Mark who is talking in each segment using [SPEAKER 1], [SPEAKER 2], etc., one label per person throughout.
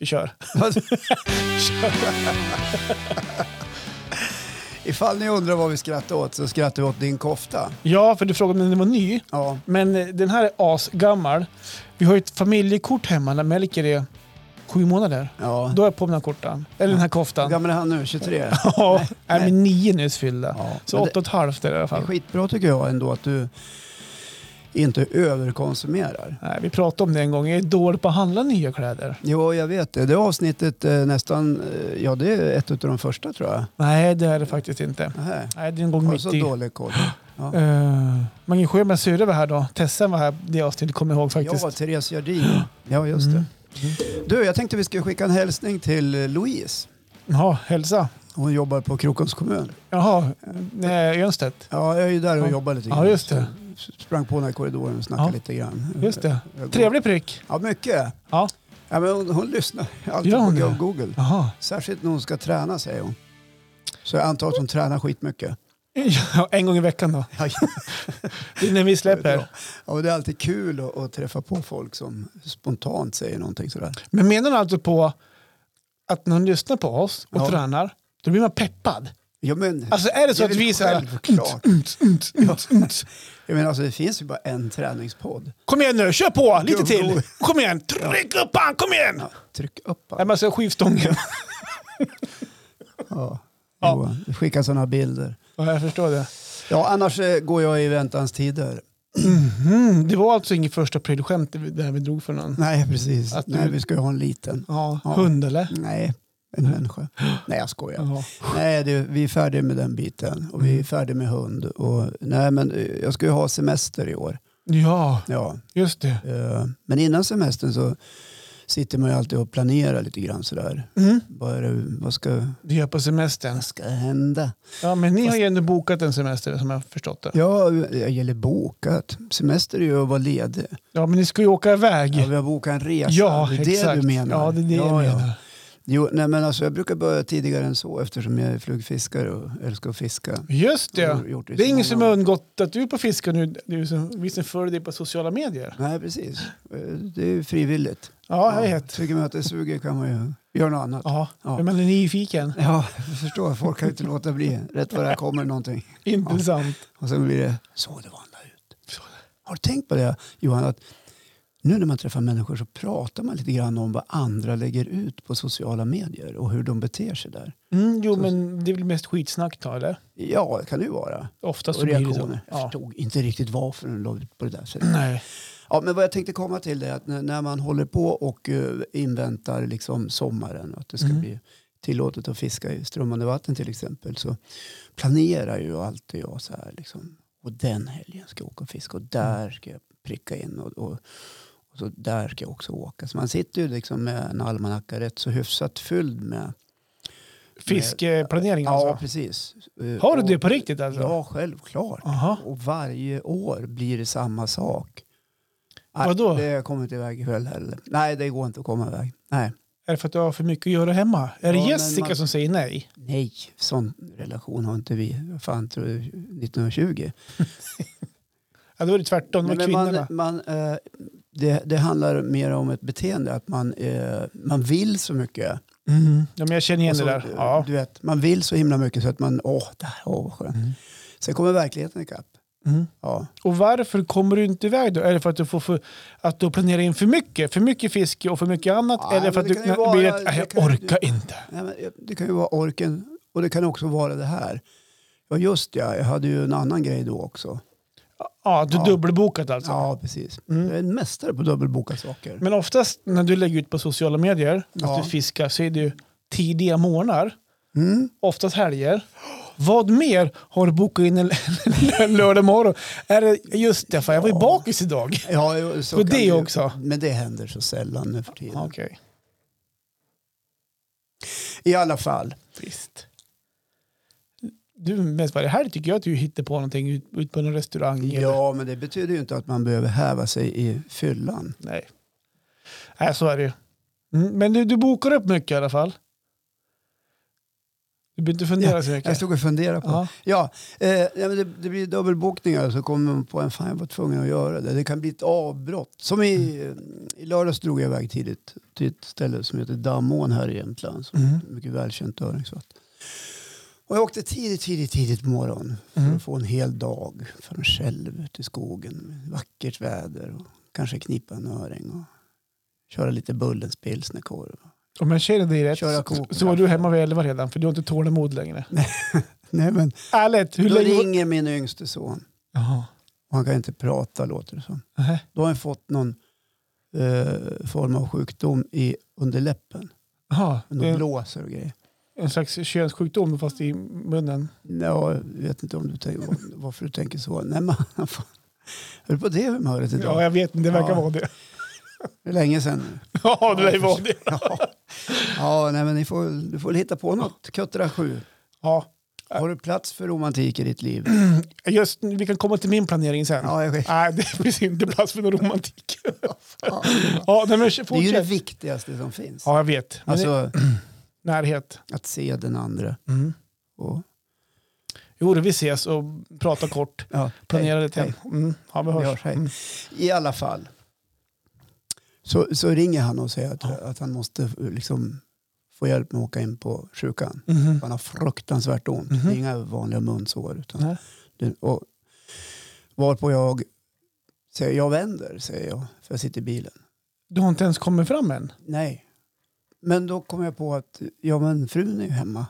[SPEAKER 1] Vi kör.
[SPEAKER 2] Ifall ni undrar vad vi skrattar åt så skrattar vi åt din kofta.
[SPEAKER 1] Ja, för du frågade om den var ny.
[SPEAKER 2] Ja,
[SPEAKER 1] Men eh, den här är asgammal. Vi har ju ett familjekort hemma när Melker är sju månader.
[SPEAKER 2] ja.
[SPEAKER 1] Då har jag på mig den här kortan. Eller den här
[SPEAKER 2] Hur
[SPEAKER 1] koftan.
[SPEAKER 2] gammal är han nu? 23?
[SPEAKER 1] Ja, nej,
[SPEAKER 2] nej.
[SPEAKER 1] men nio nyss fyllda.
[SPEAKER 2] Ja.
[SPEAKER 1] Så
[SPEAKER 2] Men
[SPEAKER 1] åtta och ett halvt är det i alla
[SPEAKER 2] det är
[SPEAKER 1] fall.
[SPEAKER 2] skitbra tycker jag ändå att du inte överkonsumerar.
[SPEAKER 1] Nej, vi pratade om det en gång. Jag är dålig på att handla nya kläder.
[SPEAKER 2] Jo, jag vet det. Det avsnittet eh, nästan, eh, ja det är ett av de första tror jag.
[SPEAKER 1] Nej, det är det faktiskt inte.
[SPEAKER 2] Nähä.
[SPEAKER 1] Nej, det är en gång
[SPEAKER 2] Har du
[SPEAKER 1] mitt
[SPEAKER 2] Mm. så
[SPEAKER 1] i.
[SPEAKER 2] dålig koll? Ja.
[SPEAKER 1] Uh, Mange Sjöbergs syrra var här då. Tessan var här det avsnittet, kommer jag ihåg faktiskt.
[SPEAKER 2] Ja, Therese Jardin. Ja, just
[SPEAKER 1] Mm.
[SPEAKER 2] det. Du, jag tänkte vi skulle skicka en hälsning till eh, Louise.
[SPEAKER 1] Jaha, hälsa.
[SPEAKER 2] Hon jobbar på Krokoms kommun.
[SPEAKER 1] Jaha, eh, nej, Jönstedt.
[SPEAKER 2] Ja, jag är ju där och
[SPEAKER 1] Ja.
[SPEAKER 2] jobbar lite grann.
[SPEAKER 1] Ja, just det.
[SPEAKER 2] Sprang på henne i korridoren och snackade
[SPEAKER 1] Ja.
[SPEAKER 2] lite grann.
[SPEAKER 1] Just det.
[SPEAKER 2] Jag går-
[SPEAKER 1] Trevlig prick.
[SPEAKER 2] Ja, mycket.
[SPEAKER 1] Ja.
[SPEAKER 2] Ja, men hon, hon lyssnar alltid
[SPEAKER 1] Gör hon
[SPEAKER 2] på
[SPEAKER 1] det?
[SPEAKER 2] Google.
[SPEAKER 1] Jaha.
[SPEAKER 2] Särskilt när hon ska träna, säger hon. Så jag antar att hon tränar skitmycket.
[SPEAKER 1] Ja, en gång i veckan då.
[SPEAKER 2] Ja,
[SPEAKER 1] Det är När vi släpper.
[SPEAKER 2] Ja, och det är alltid kul att, att träffa på folk som spontant säger någonting sådär.
[SPEAKER 1] Men menar hon alltså på att när hon lyssnar på oss och
[SPEAKER 2] Ja.
[SPEAKER 1] tränar, då blir man peppad?
[SPEAKER 2] Ja, men,
[SPEAKER 1] Alltså är det så
[SPEAKER 2] är
[SPEAKER 1] att
[SPEAKER 2] väl
[SPEAKER 1] vi så här... "Mm,
[SPEAKER 2] självklart.
[SPEAKER 1] "Unt, unt, unt, unt."
[SPEAKER 2] Jag menar, alltså, det finns ju bara en träningspodd.
[SPEAKER 1] mm, Kom igen nu, kör på lite
[SPEAKER 2] Jo, jo.
[SPEAKER 1] till. Kom igen, tryck upp han, kom igen!
[SPEAKER 2] Ja, tryck upp
[SPEAKER 1] Nej,
[SPEAKER 2] han.
[SPEAKER 1] men alltså skivstången.
[SPEAKER 2] ja.
[SPEAKER 1] Ja.
[SPEAKER 2] Johan, Skicka sådana bilder.
[SPEAKER 1] Ja, jag förstår det.
[SPEAKER 2] Ja, annars eh, går jag i väntans tider.
[SPEAKER 1] Mm, det var alltså inget första aprilskämt det vi- det här vi drog för någon?
[SPEAKER 2] Nej, precis.
[SPEAKER 1] Att du-
[SPEAKER 2] Nej, vi ska ju ha en liten.
[SPEAKER 1] Ja,
[SPEAKER 2] Ja.
[SPEAKER 1] hund eller?
[SPEAKER 2] Nej, en människa. Nej, jag skojar.
[SPEAKER 1] Ja.
[SPEAKER 2] Nej, det, vi är färdiga med den biten och
[SPEAKER 1] Mm.
[SPEAKER 2] vi är färdiga med hund. Och, nej, men eh, jag ska ju ha semester i år.
[SPEAKER 1] ja,
[SPEAKER 2] Ja,
[SPEAKER 1] just det.
[SPEAKER 2] eh, men innan semestern så sitter man ju alltid och planerar lite grann sådär.
[SPEAKER 1] Mm.
[SPEAKER 2] Vad, är det, vad, ska,
[SPEAKER 1] Du är på semestern.
[SPEAKER 2] vad ska hända?
[SPEAKER 1] Ja, men ni har ju ändå bokat en semester som jag har förstått det.
[SPEAKER 2] Ja, jag gäller bokat. Semester är ju att vara ledig.
[SPEAKER 1] Ja, men ni ska ju åka iväg.
[SPEAKER 2] Ja, vi har bokat en resa.
[SPEAKER 1] Ja,
[SPEAKER 2] Alltså, det är
[SPEAKER 1] exakt.
[SPEAKER 2] det du menar.
[SPEAKER 1] Ja, det är det jag
[SPEAKER 2] Ja, ja.
[SPEAKER 1] menar.
[SPEAKER 2] Jo, nej, men alltså, jag brukar börja tidigare än så eftersom jag är flugfiskare och älskar att fiska.
[SPEAKER 1] Just
[SPEAKER 2] Jag
[SPEAKER 1] det.
[SPEAKER 2] har gjort i
[SPEAKER 1] Det är
[SPEAKER 2] så
[SPEAKER 1] ingen
[SPEAKER 2] många
[SPEAKER 1] som
[SPEAKER 2] år.
[SPEAKER 1] har undgått att du är på fiske nu. Du som, vi som följer dig på sociala medier.
[SPEAKER 2] Nej, precis. Eh, Det är ju frivilligt.
[SPEAKER 1] Ja, jag vet.
[SPEAKER 2] Tycker man att det suger kan man ju göra något annat.
[SPEAKER 1] Ja,
[SPEAKER 2] Ja.
[SPEAKER 1] men man är nyfiken.
[SPEAKER 2] Ja, jag förstår. Folk kan ju inte låta bli. Rätt vad det här kommer någonting.
[SPEAKER 1] Intressant.
[SPEAKER 2] Och sen blir det så det vandrar ut. Har du tänkt på det Johan? Att nu när man träffar människor så pratar man lite grann om vad andra lägger ut på sociala medier och hur de beter sig där.
[SPEAKER 1] Mm, jo,
[SPEAKER 2] Så-
[SPEAKER 1] men det är väl mest skitsnack då, eller?
[SPEAKER 2] Ja, det kan det ju vara.
[SPEAKER 1] Oftast
[SPEAKER 2] Och
[SPEAKER 1] så blir det så.
[SPEAKER 2] reaktioner. Jag
[SPEAKER 1] Ja.
[SPEAKER 2] förstod inte riktigt varför de la ut på det där sättet.
[SPEAKER 1] Nej.
[SPEAKER 2] Ja, men vad jag tänkte komma till är att när, när man håller på och eh, inväntar liksom sommaren och att det ska
[SPEAKER 1] Mm.
[SPEAKER 2] bli tillåtet att fiska i strömmande vatten till exempel så planerar ju alltid jag så här liksom. Och den helgen ska jag åka och fiska och
[SPEAKER 1] Mm.
[SPEAKER 2] där ska jag pricka in och, och, och så där ska jag också åka. Så man sitter ju liksom med en almanacka rätt så hyfsat fylld med.
[SPEAKER 1] Fiskeplanering
[SPEAKER 2] Ja,
[SPEAKER 1] alltså.
[SPEAKER 2] precis. Eh,
[SPEAKER 1] Har du
[SPEAKER 2] och-
[SPEAKER 1] det på riktigt alltså?
[SPEAKER 2] Ja, självklart.
[SPEAKER 1] Aha.
[SPEAKER 2] Och varje år blir det samma sak.
[SPEAKER 1] Vadå?
[SPEAKER 2] Nej, det kommer inte iväg ikväll heller. Nej, det går inte att komma iväg. Nej,
[SPEAKER 1] Är det för att du har för mycket att göra hemma? Är det
[SPEAKER 2] Ja, men
[SPEAKER 1] Jessica
[SPEAKER 2] man-
[SPEAKER 1] som säger nej?
[SPEAKER 2] nej, sån relation har inte vi. Vad Fan, tror du, 1920?
[SPEAKER 1] Ja, då är det tvärtom. Det
[SPEAKER 2] Nej,
[SPEAKER 1] var
[SPEAKER 2] men man,
[SPEAKER 1] kvinnorna.
[SPEAKER 2] man, eh, det, det handlar mer om ett beteende, att man, eh, man vill så mycket.
[SPEAKER 1] Mm. Ja, men jag känner igen
[SPEAKER 2] Och så,
[SPEAKER 1] det där. Ja.
[SPEAKER 2] Du vet, man vill så himla mycket så att man, åh, det här, åh vad skönt.
[SPEAKER 1] Mm.
[SPEAKER 2] Sen kommer verkligheten ikapp.
[SPEAKER 1] Mm.
[SPEAKER 2] Ja.
[SPEAKER 1] Och varför kommer du inte iväg då? Är det för att du, får för, att du planerar in för mycket? För mycket fiske och för mycket annat?
[SPEAKER 2] Ja,
[SPEAKER 1] Eller för
[SPEAKER 2] men
[SPEAKER 1] att du
[SPEAKER 2] det kan ju vara-
[SPEAKER 1] blir ett,
[SPEAKER 2] det
[SPEAKER 1] "Nej, jag
[SPEAKER 2] kan ju-
[SPEAKER 1] orkar inte.
[SPEAKER 2] Nej, men eh, det kan ju vara orken och det kan också vara det här. Ja, just ja, jag hade ju en annan grej då också.
[SPEAKER 1] Ja, du
[SPEAKER 2] Ja.
[SPEAKER 1] dubbelbokat alltså.
[SPEAKER 2] Ja, precis.
[SPEAKER 1] Mm.
[SPEAKER 2] Jag är en mästare på dubbelboka saker.
[SPEAKER 1] Men oftast när du lägger ut på sociala medier
[SPEAKER 2] Ja.
[SPEAKER 1] att du fiskar så är det ju tidiga morgnar.
[SPEAKER 2] Mm.
[SPEAKER 1] Oftast helger. Vad mer har du bokat in en lördag morgon? Är det just det? Fan, jag var ju
[SPEAKER 2] Ja.
[SPEAKER 1] bakis idag.
[SPEAKER 2] Ja, jo, så
[SPEAKER 1] Och
[SPEAKER 2] kan
[SPEAKER 1] det
[SPEAKER 2] ju-
[SPEAKER 1] också.
[SPEAKER 2] Men det händer så sällan nu för tiden.
[SPEAKER 1] Okej,
[SPEAKER 2] I alla fall.
[SPEAKER 1] visst. Du, mest varje helg tycker jag att du hittar på någonting ut, ut på någon restaurang. eller-
[SPEAKER 2] Ja, men det betyder ju inte att man behöver häva sig i fyllan.
[SPEAKER 1] Nej. Nej, så är det ju. Mm, Men du, du bokar upp mycket i alla fall. Du behöver inte fundera
[SPEAKER 2] Ja,
[SPEAKER 1] så mycket.
[SPEAKER 2] Jag stod och funderade på.
[SPEAKER 1] Ja.
[SPEAKER 2] Ja, eh, ja, men det, det blir dubbelbokningar och så kommer man på en fan jag var tvungen att göra det. Det kan bli ett avbrott. Som i, eh, i lördags drog jag iväg tidigt till ett ställe som heter Dammån här i Jämtland. Som är
[SPEAKER 1] Mm.
[SPEAKER 2] ett mycket välkänt öringsvatten. Och jag åkte tidigt, tidigt, tidigt på morgonen för
[SPEAKER 1] Mm.
[SPEAKER 2] att få en hel dag för mig själv ute i skogen. Vackert väder och kanske knippa en öring och köra lite Bullens pilsnerkorv.
[SPEAKER 1] Om jag känner dig rätt
[SPEAKER 2] Köra
[SPEAKER 1] så,
[SPEAKER 2] kok.
[SPEAKER 1] så var du hemma vid elva redan för du har inte tålamod längre.
[SPEAKER 2] Nej men,
[SPEAKER 1] Ärligt, hur
[SPEAKER 2] då
[SPEAKER 1] länge...
[SPEAKER 2] ringer min yngste son
[SPEAKER 1] Jaha.
[SPEAKER 2] och han kan inte prata låter det som.
[SPEAKER 1] Nähä.
[SPEAKER 2] Då har han fått någon eh, form av sjukdom i underläppen.
[SPEAKER 1] Jaha.
[SPEAKER 2] Men då
[SPEAKER 1] Det är
[SPEAKER 2] blåser och grejer.
[SPEAKER 1] en slags könssjukdom fast i munnen.
[SPEAKER 2] Ja, jag vet inte om du tänker, var- varför du tänker så. Nej, men, han får- är du på det humöret
[SPEAKER 1] Ja,
[SPEAKER 2] idag?
[SPEAKER 1] jag vet inte. Det verkar
[SPEAKER 2] Ja.
[SPEAKER 1] vara det.
[SPEAKER 2] Det är länge sedan nu.
[SPEAKER 1] Ja, det lär ju vara det.
[SPEAKER 2] Ja, ja nej, men ni får, du får väl hitta på något. Kuttera sju.
[SPEAKER 1] Ja. Mm.
[SPEAKER 2] Har du plats för romantik i ditt liv?
[SPEAKER 1] Just, vi kan komma till min planering sen.
[SPEAKER 2] Ja, jag,
[SPEAKER 1] Nej, det finns inte plats för någon romantik.
[SPEAKER 2] ja,
[SPEAKER 1] Ja, nej, men
[SPEAKER 2] det är ju det
[SPEAKER 1] fortsätt.
[SPEAKER 2] viktigaste som finns.
[SPEAKER 1] Ja, jag vet. Men det-
[SPEAKER 2] Alltså
[SPEAKER 1] närhet.
[SPEAKER 2] att se den andra. Och,
[SPEAKER 1] Jo, då, vi ses och pratar kort.
[SPEAKER 2] ja,
[SPEAKER 1] Planera lite.
[SPEAKER 2] hej.
[SPEAKER 1] Mm. Ja, vi
[SPEAKER 2] Vi
[SPEAKER 1] hörs.
[SPEAKER 2] hörs, hej.
[SPEAKER 1] Mm.
[SPEAKER 2] I alla fall. Så, så ringer han och säger att,
[SPEAKER 1] Ja.
[SPEAKER 2] att han måste eh, liksom, få hjälp med att åka in på sjukan.
[SPEAKER 1] Mhm.
[SPEAKER 2] Han har fruktansvärt ont.
[SPEAKER 1] Mhm.
[SPEAKER 2] Det är inga vanliga munsår. Utan
[SPEAKER 1] Nej.
[SPEAKER 2] det, och, varpå jag säger, jag vänder, säger jag, för jag sitter i bilen.
[SPEAKER 1] Du har inte ens kommit fram än?
[SPEAKER 2] Nej. Men då kom jag på att, ja men frun är ju hemma.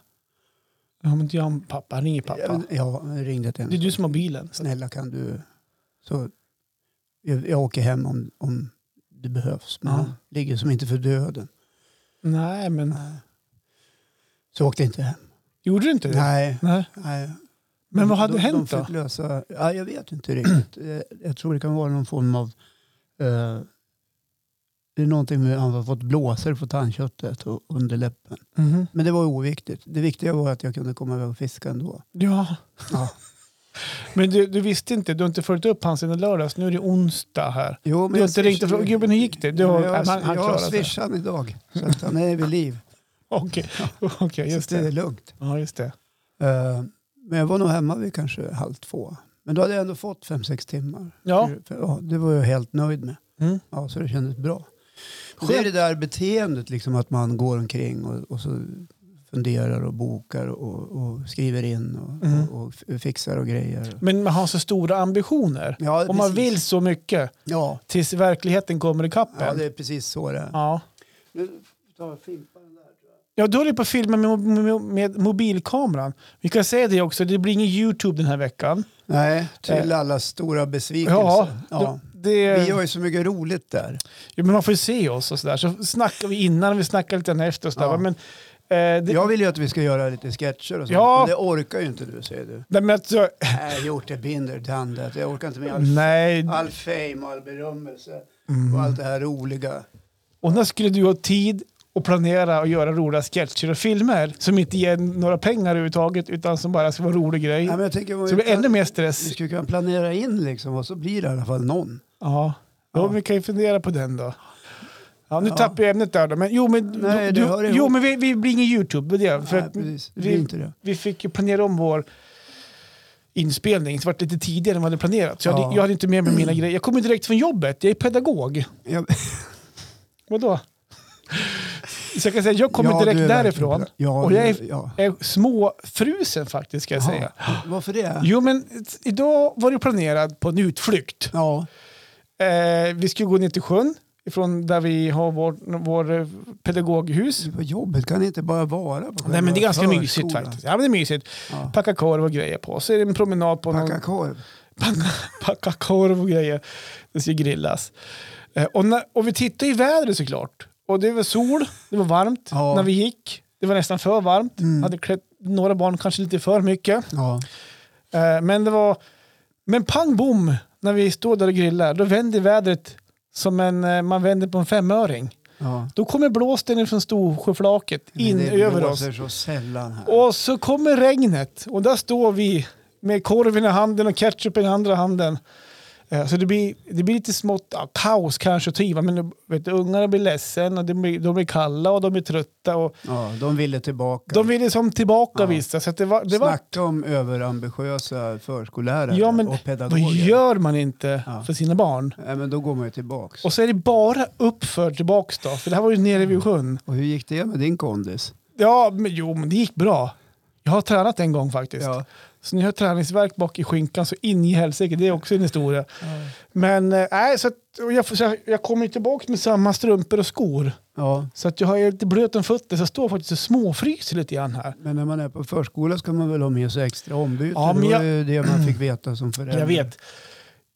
[SPEAKER 1] Ja, men jag, pappa, ringer pappa.
[SPEAKER 2] Ja, jag ringde till
[SPEAKER 1] Det är
[SPEAKER 2] henne.
[SPEAKER 1] du som har bilen.
[SPEAKER 2] Snälla kan du, så, jag, jag åker hem om, om det behövs. Men
[SPEAKER 1] Ja.
[SPEAKER 2] han ligger som inte för döden.
[SPEAKER 1] Nej, men
[SPEAKER 2] Så jag åkte inte hem.
[SPEAKER 1] gjorde du inte det?
[SPEAKER 2] Nej.
[SPEAKER 1] Nej.
[SPEAKER 2] nej.
[SPEAKER 1] Typ. Men vad hade
[SPEAKER 2] de,
[SPEAKER 1] hänt
[SPEAKER 2] de
[SPEAKER 1] då?
[SPEAKER 2] fick Lösa, ja, jag vet inte riktigt. Eh, jag tror det kan vara någon form av... Eh, det är någonting med att han har fått blåsor på tandköttet och underläppen.
[SPEAKER 1] Mhm.
[SPEAKER 2] Men det var oviktigt. Det viktiga var att jag kunde komma iväg och fiska ändå.
[SPEAKER 1] Ja,
[SPEAKER 2] Ja.
[SPEAKER 1] men du, du visste inte. Du har inte följt upp han sedan i lördags. Nu är det onsdag här.
[SPEAKER 2] Jo,
[SPEAKER 1] Du har inte ringt och frågat, "Gubben, hur gick det?" Du har-
[SPEAKER 2] jag,
[SPEAKER 1] han- han
[SPEAKER 2] jag
[SPEAKER 1] klarar
[SPEAKER 2] har
[SPEAKER 1] sig.
[SPEAKER 2] swishat idag. Så att han är vid liv.
[SPEAKER 1] Okej, Okej, just
[SPEAKER 2] så det är
[SPEAKER 1] det.
[SPEAKER 2] lugnt.
[SPEAKER 1] Ja, just det.
[SPEAKER 2] Eh, men jag var nog hemma vid kanske halv två. Men då hade jag ändå fått fem, sex timmar.
[SPEAKER 1] Ja.
[SPEAKER 2] För- för- ja, det var jag helt nöjd med.
[SPEAKER 1] Mm.
[SPEAKER 2] Ja, så det kändes bra. Det är det där beteendet, liksom, att man går omkring och, och så funderar och bokar och, och skriver in och,
[SPEAKER 1] Mm.
[SPEAKER 2] och, och f- fixar och grejer.
[SPEAKER 1] Men man har så stora ambitioner.
[SPEAKER 2] Ja,
[SPEAKER 1] Om man
[SPEAKER 2] precis.
[SPEAKER 1] vill så mycket
[SPEAKER 2] Ja,
[SPEAKER 1] tills verkligheten kommer ikapp
[SPEAKER 2] ja,
[SPEAKER 1] en.
[SPEAKER 2] det är precis så det är.
[SPEAKER 1] Ja.
[SPEAKER 2] Nu tar jag fimpan där.
[SPEAKER 1] Ja, du håller på att filma med, med, med mobilkameran. Vi kan säga det också, det blir ingen YouTube den här veckan.
[SPEAKER 2] Nej, till alla stora besvikelser.
[SPEAKER 1] Eh. Ja,
[SPEAKER 2] Ja.
[SPEAKER 1] Det,
[SPEAKER 2] Vi gör ju så mycket roligt där.
[SPEAKER 1] ja, men man får ju se oss och sådär. Så snackar vi innan, vi snackar lite grann efter och sådär.
[SPEAKER 2] Ja.
[SPEAKER 1] Men, eh, det,
[SPEAKER 2] Jag vill ju att vi ska göra lite sketcher och sånt,
[SPEAKER 1] Ja.
[SPEAKER 2] men det orkar ju inte du, säger du.
[SPEAKER 1] nej, men alltså,
[SPEAKER 2] Nej, jag har gjort det binder tandet. Jag orkar inte med
[SPEAKER 1] Mm.
[SPEAKER 2] all,
[SPEAKER 1] nej.
[SPEAKER 2] all fame och all berömmelse och
[SPEAKER 1] Mm.
[SPEAKER 2] allt det här roliga.
[SPEAKER 1] Och när skulle du ha tid och planera och göra roliga sketcher och filmer som inte ger några pengar överhuvudtaget utan som bara ska vara en rolig grej.
[SPEAKER 2] Nej, men jag tänker,
[SPEAKER 1] så det blir ännu mer stress.
[SPEAKER 2] Vi skulle kunna planera in liksom och så blir det i alla fall någon.
[SPEAKER 1] Ja, ja.
[SPEAKER 2] Ja.
[SPEAKER 1] vi kan ju fundera på den då. Ja, nu
[SPEAKER 2] Ja.
[SPEAKER 1] tappar jag ämnet där då. Men, jo, men,
[SPEAKER 2] Nej, det hör
[SPEAKER 1] du,
[SPEAKER 2] ihop.
[SPEAKER 1] jo, men vi, vi blir ingen YouTube. Det, är det, för
[SPEAKER 2] Nej,
[SPEAKER 1] att
[SPEAKER 2] precis. Det
[SPEAKER 1] vi-
[SPEAKER 2] blir inte det.
[SPEAKER 1] vi fick ju planera om vår inspelning. Så det var lite tidigare än vad vi hade planerat. Så jag, hade,
[SPEAKER 2] Ja.
[SPEAKER 1] jag hade inte med mig mina grejer. Jag kommer direkt från jobbet. Jag är pedagog.
[SPEAKER 2] Jag,
[SPEAKER 1] Vadå? Så jag kan säga jag kommer
[SPEAKER 2] Ja, du
[SPEAKER 1] direkt
[SPEAKER 2] är
[SPEAKER 1] därifrån.
[SPEAKER 2] verkligen- Ja,
[SPEAKER 1] och jag är,
[SPEAKER 2] ja.
[SPEAKER 1] är småfrusen faktiskt, ska jag säga.
[SPEAKER 2] Jaha. Varför det?
[SPEAKER 1] Jo, men t- idag var det planerat på en utflykt.
[SPEAKER 2] Ja,
[SPEAKER 1] Eh, vi skulle gå ner till sjön ifrån där vi har vår, vår eh, pedagoghus.
[SPEAKER 2] du på jobbet kan inte bara vara på
[SPEAKER 1] Nej, men det är ganska
[SPEAKER 2] förskolan.
[SPEAKER 1] mysigt faktiskt. Ja, men det är mysigt.
[SPEAKER 2] Ja.
[SPEAKER 1] Packa korv och grejer på. Så är det en promenad på någon...
[SPEAKER 2] Packa korv.
[SPEAKER 1] Packa, packa korv och grejer. Det ska grillas. Eh, och, när, och vi tittade i vädret såklart. Och det var sol, det var varmt
[SPEAKER 2] Ja. Mm.
[SPEAKER 1] när vi gick. Det var nästan för varmt. Hade klätt några barn kanske lite för mycket.
[SPEAKER 2] Ja.
[SPEAKER 1] Eh, men det var... Men pang bom, när vi står där och grillar, då vänder vädret som en, eh, man vänder på en femöring.
[SPEAKER 2] Ja.
[SPEAKER 1] Då kommer blåsten från Storsjöflaket in
[SPEAKER 2] Men det
[SPEAKER 1] över oss.
[SPEAKER 2] blåser så sällan här.
[SPEAKER 1] Och så kommer regnet och där står vi med korven i handen och ketchup i den andra handen. Eh, Så det blir, det blir lite smått ja, kaos kanske att ta i, va, men du vet, ungarna blir ledsen och de blir, de blir kalla och de blir trötta. Och
[SPEAKER 2] Ja, de ville tillbaka.
[SPEAKER 1] de ville som tillbaka
[SPEAKER 2] Ja.
[SPEAKER 1] vissa. Så att det var, det var,
[SPEAKER 2] Snacka om överambitiösa förskollärare
[SPEAKER 1] ja, men
[SPEAKER 2] och
[SPEAKER 1] vad
[SPEAKER 2] pedagoger.
[SPEAKER 1] gör man inte
[SPEAKER 2] Ja.
[SPEAKER 1] för sina barn?
[SPEAKER 2] Nej, men då går man ju tillbaks. Och,
[SPEAKER 1] Och så är det bara uppför tillbaks då, för det här var ju nere vid sjön.
[SPEAKER 2] hur gick det med din kondis?
[SPEAKER 1] Ja, men, jo, men det gick bra. Jag har tränat en gång faktiskt.
[SPEAKER 2] Ja.
[SPEAKER 1] Så nu har jag träningsvärk bak i skinkan så in i helsike, det är också en historia. Men eh, nej, så att, och jag, får- så jag, jag kommer ju tillbaka med samma strumpor och skor.
[SPEAKER 2] ja,
[SPEAKER 1] Så att jag har ju lite blöt om fötter så jag står faktiskt och småfryser lite grann här.
[SPEAKER 2] men när man är på förskola ska man väl ha med sig extra ombyte.
[SPEAKER 1] Ja, men
[SPEAKER 2] det var
[SPEAKER 1] jag-
[SPEAKER 2] ju det man fick veta som förälder.
[SPEAKER 1] Jag vet.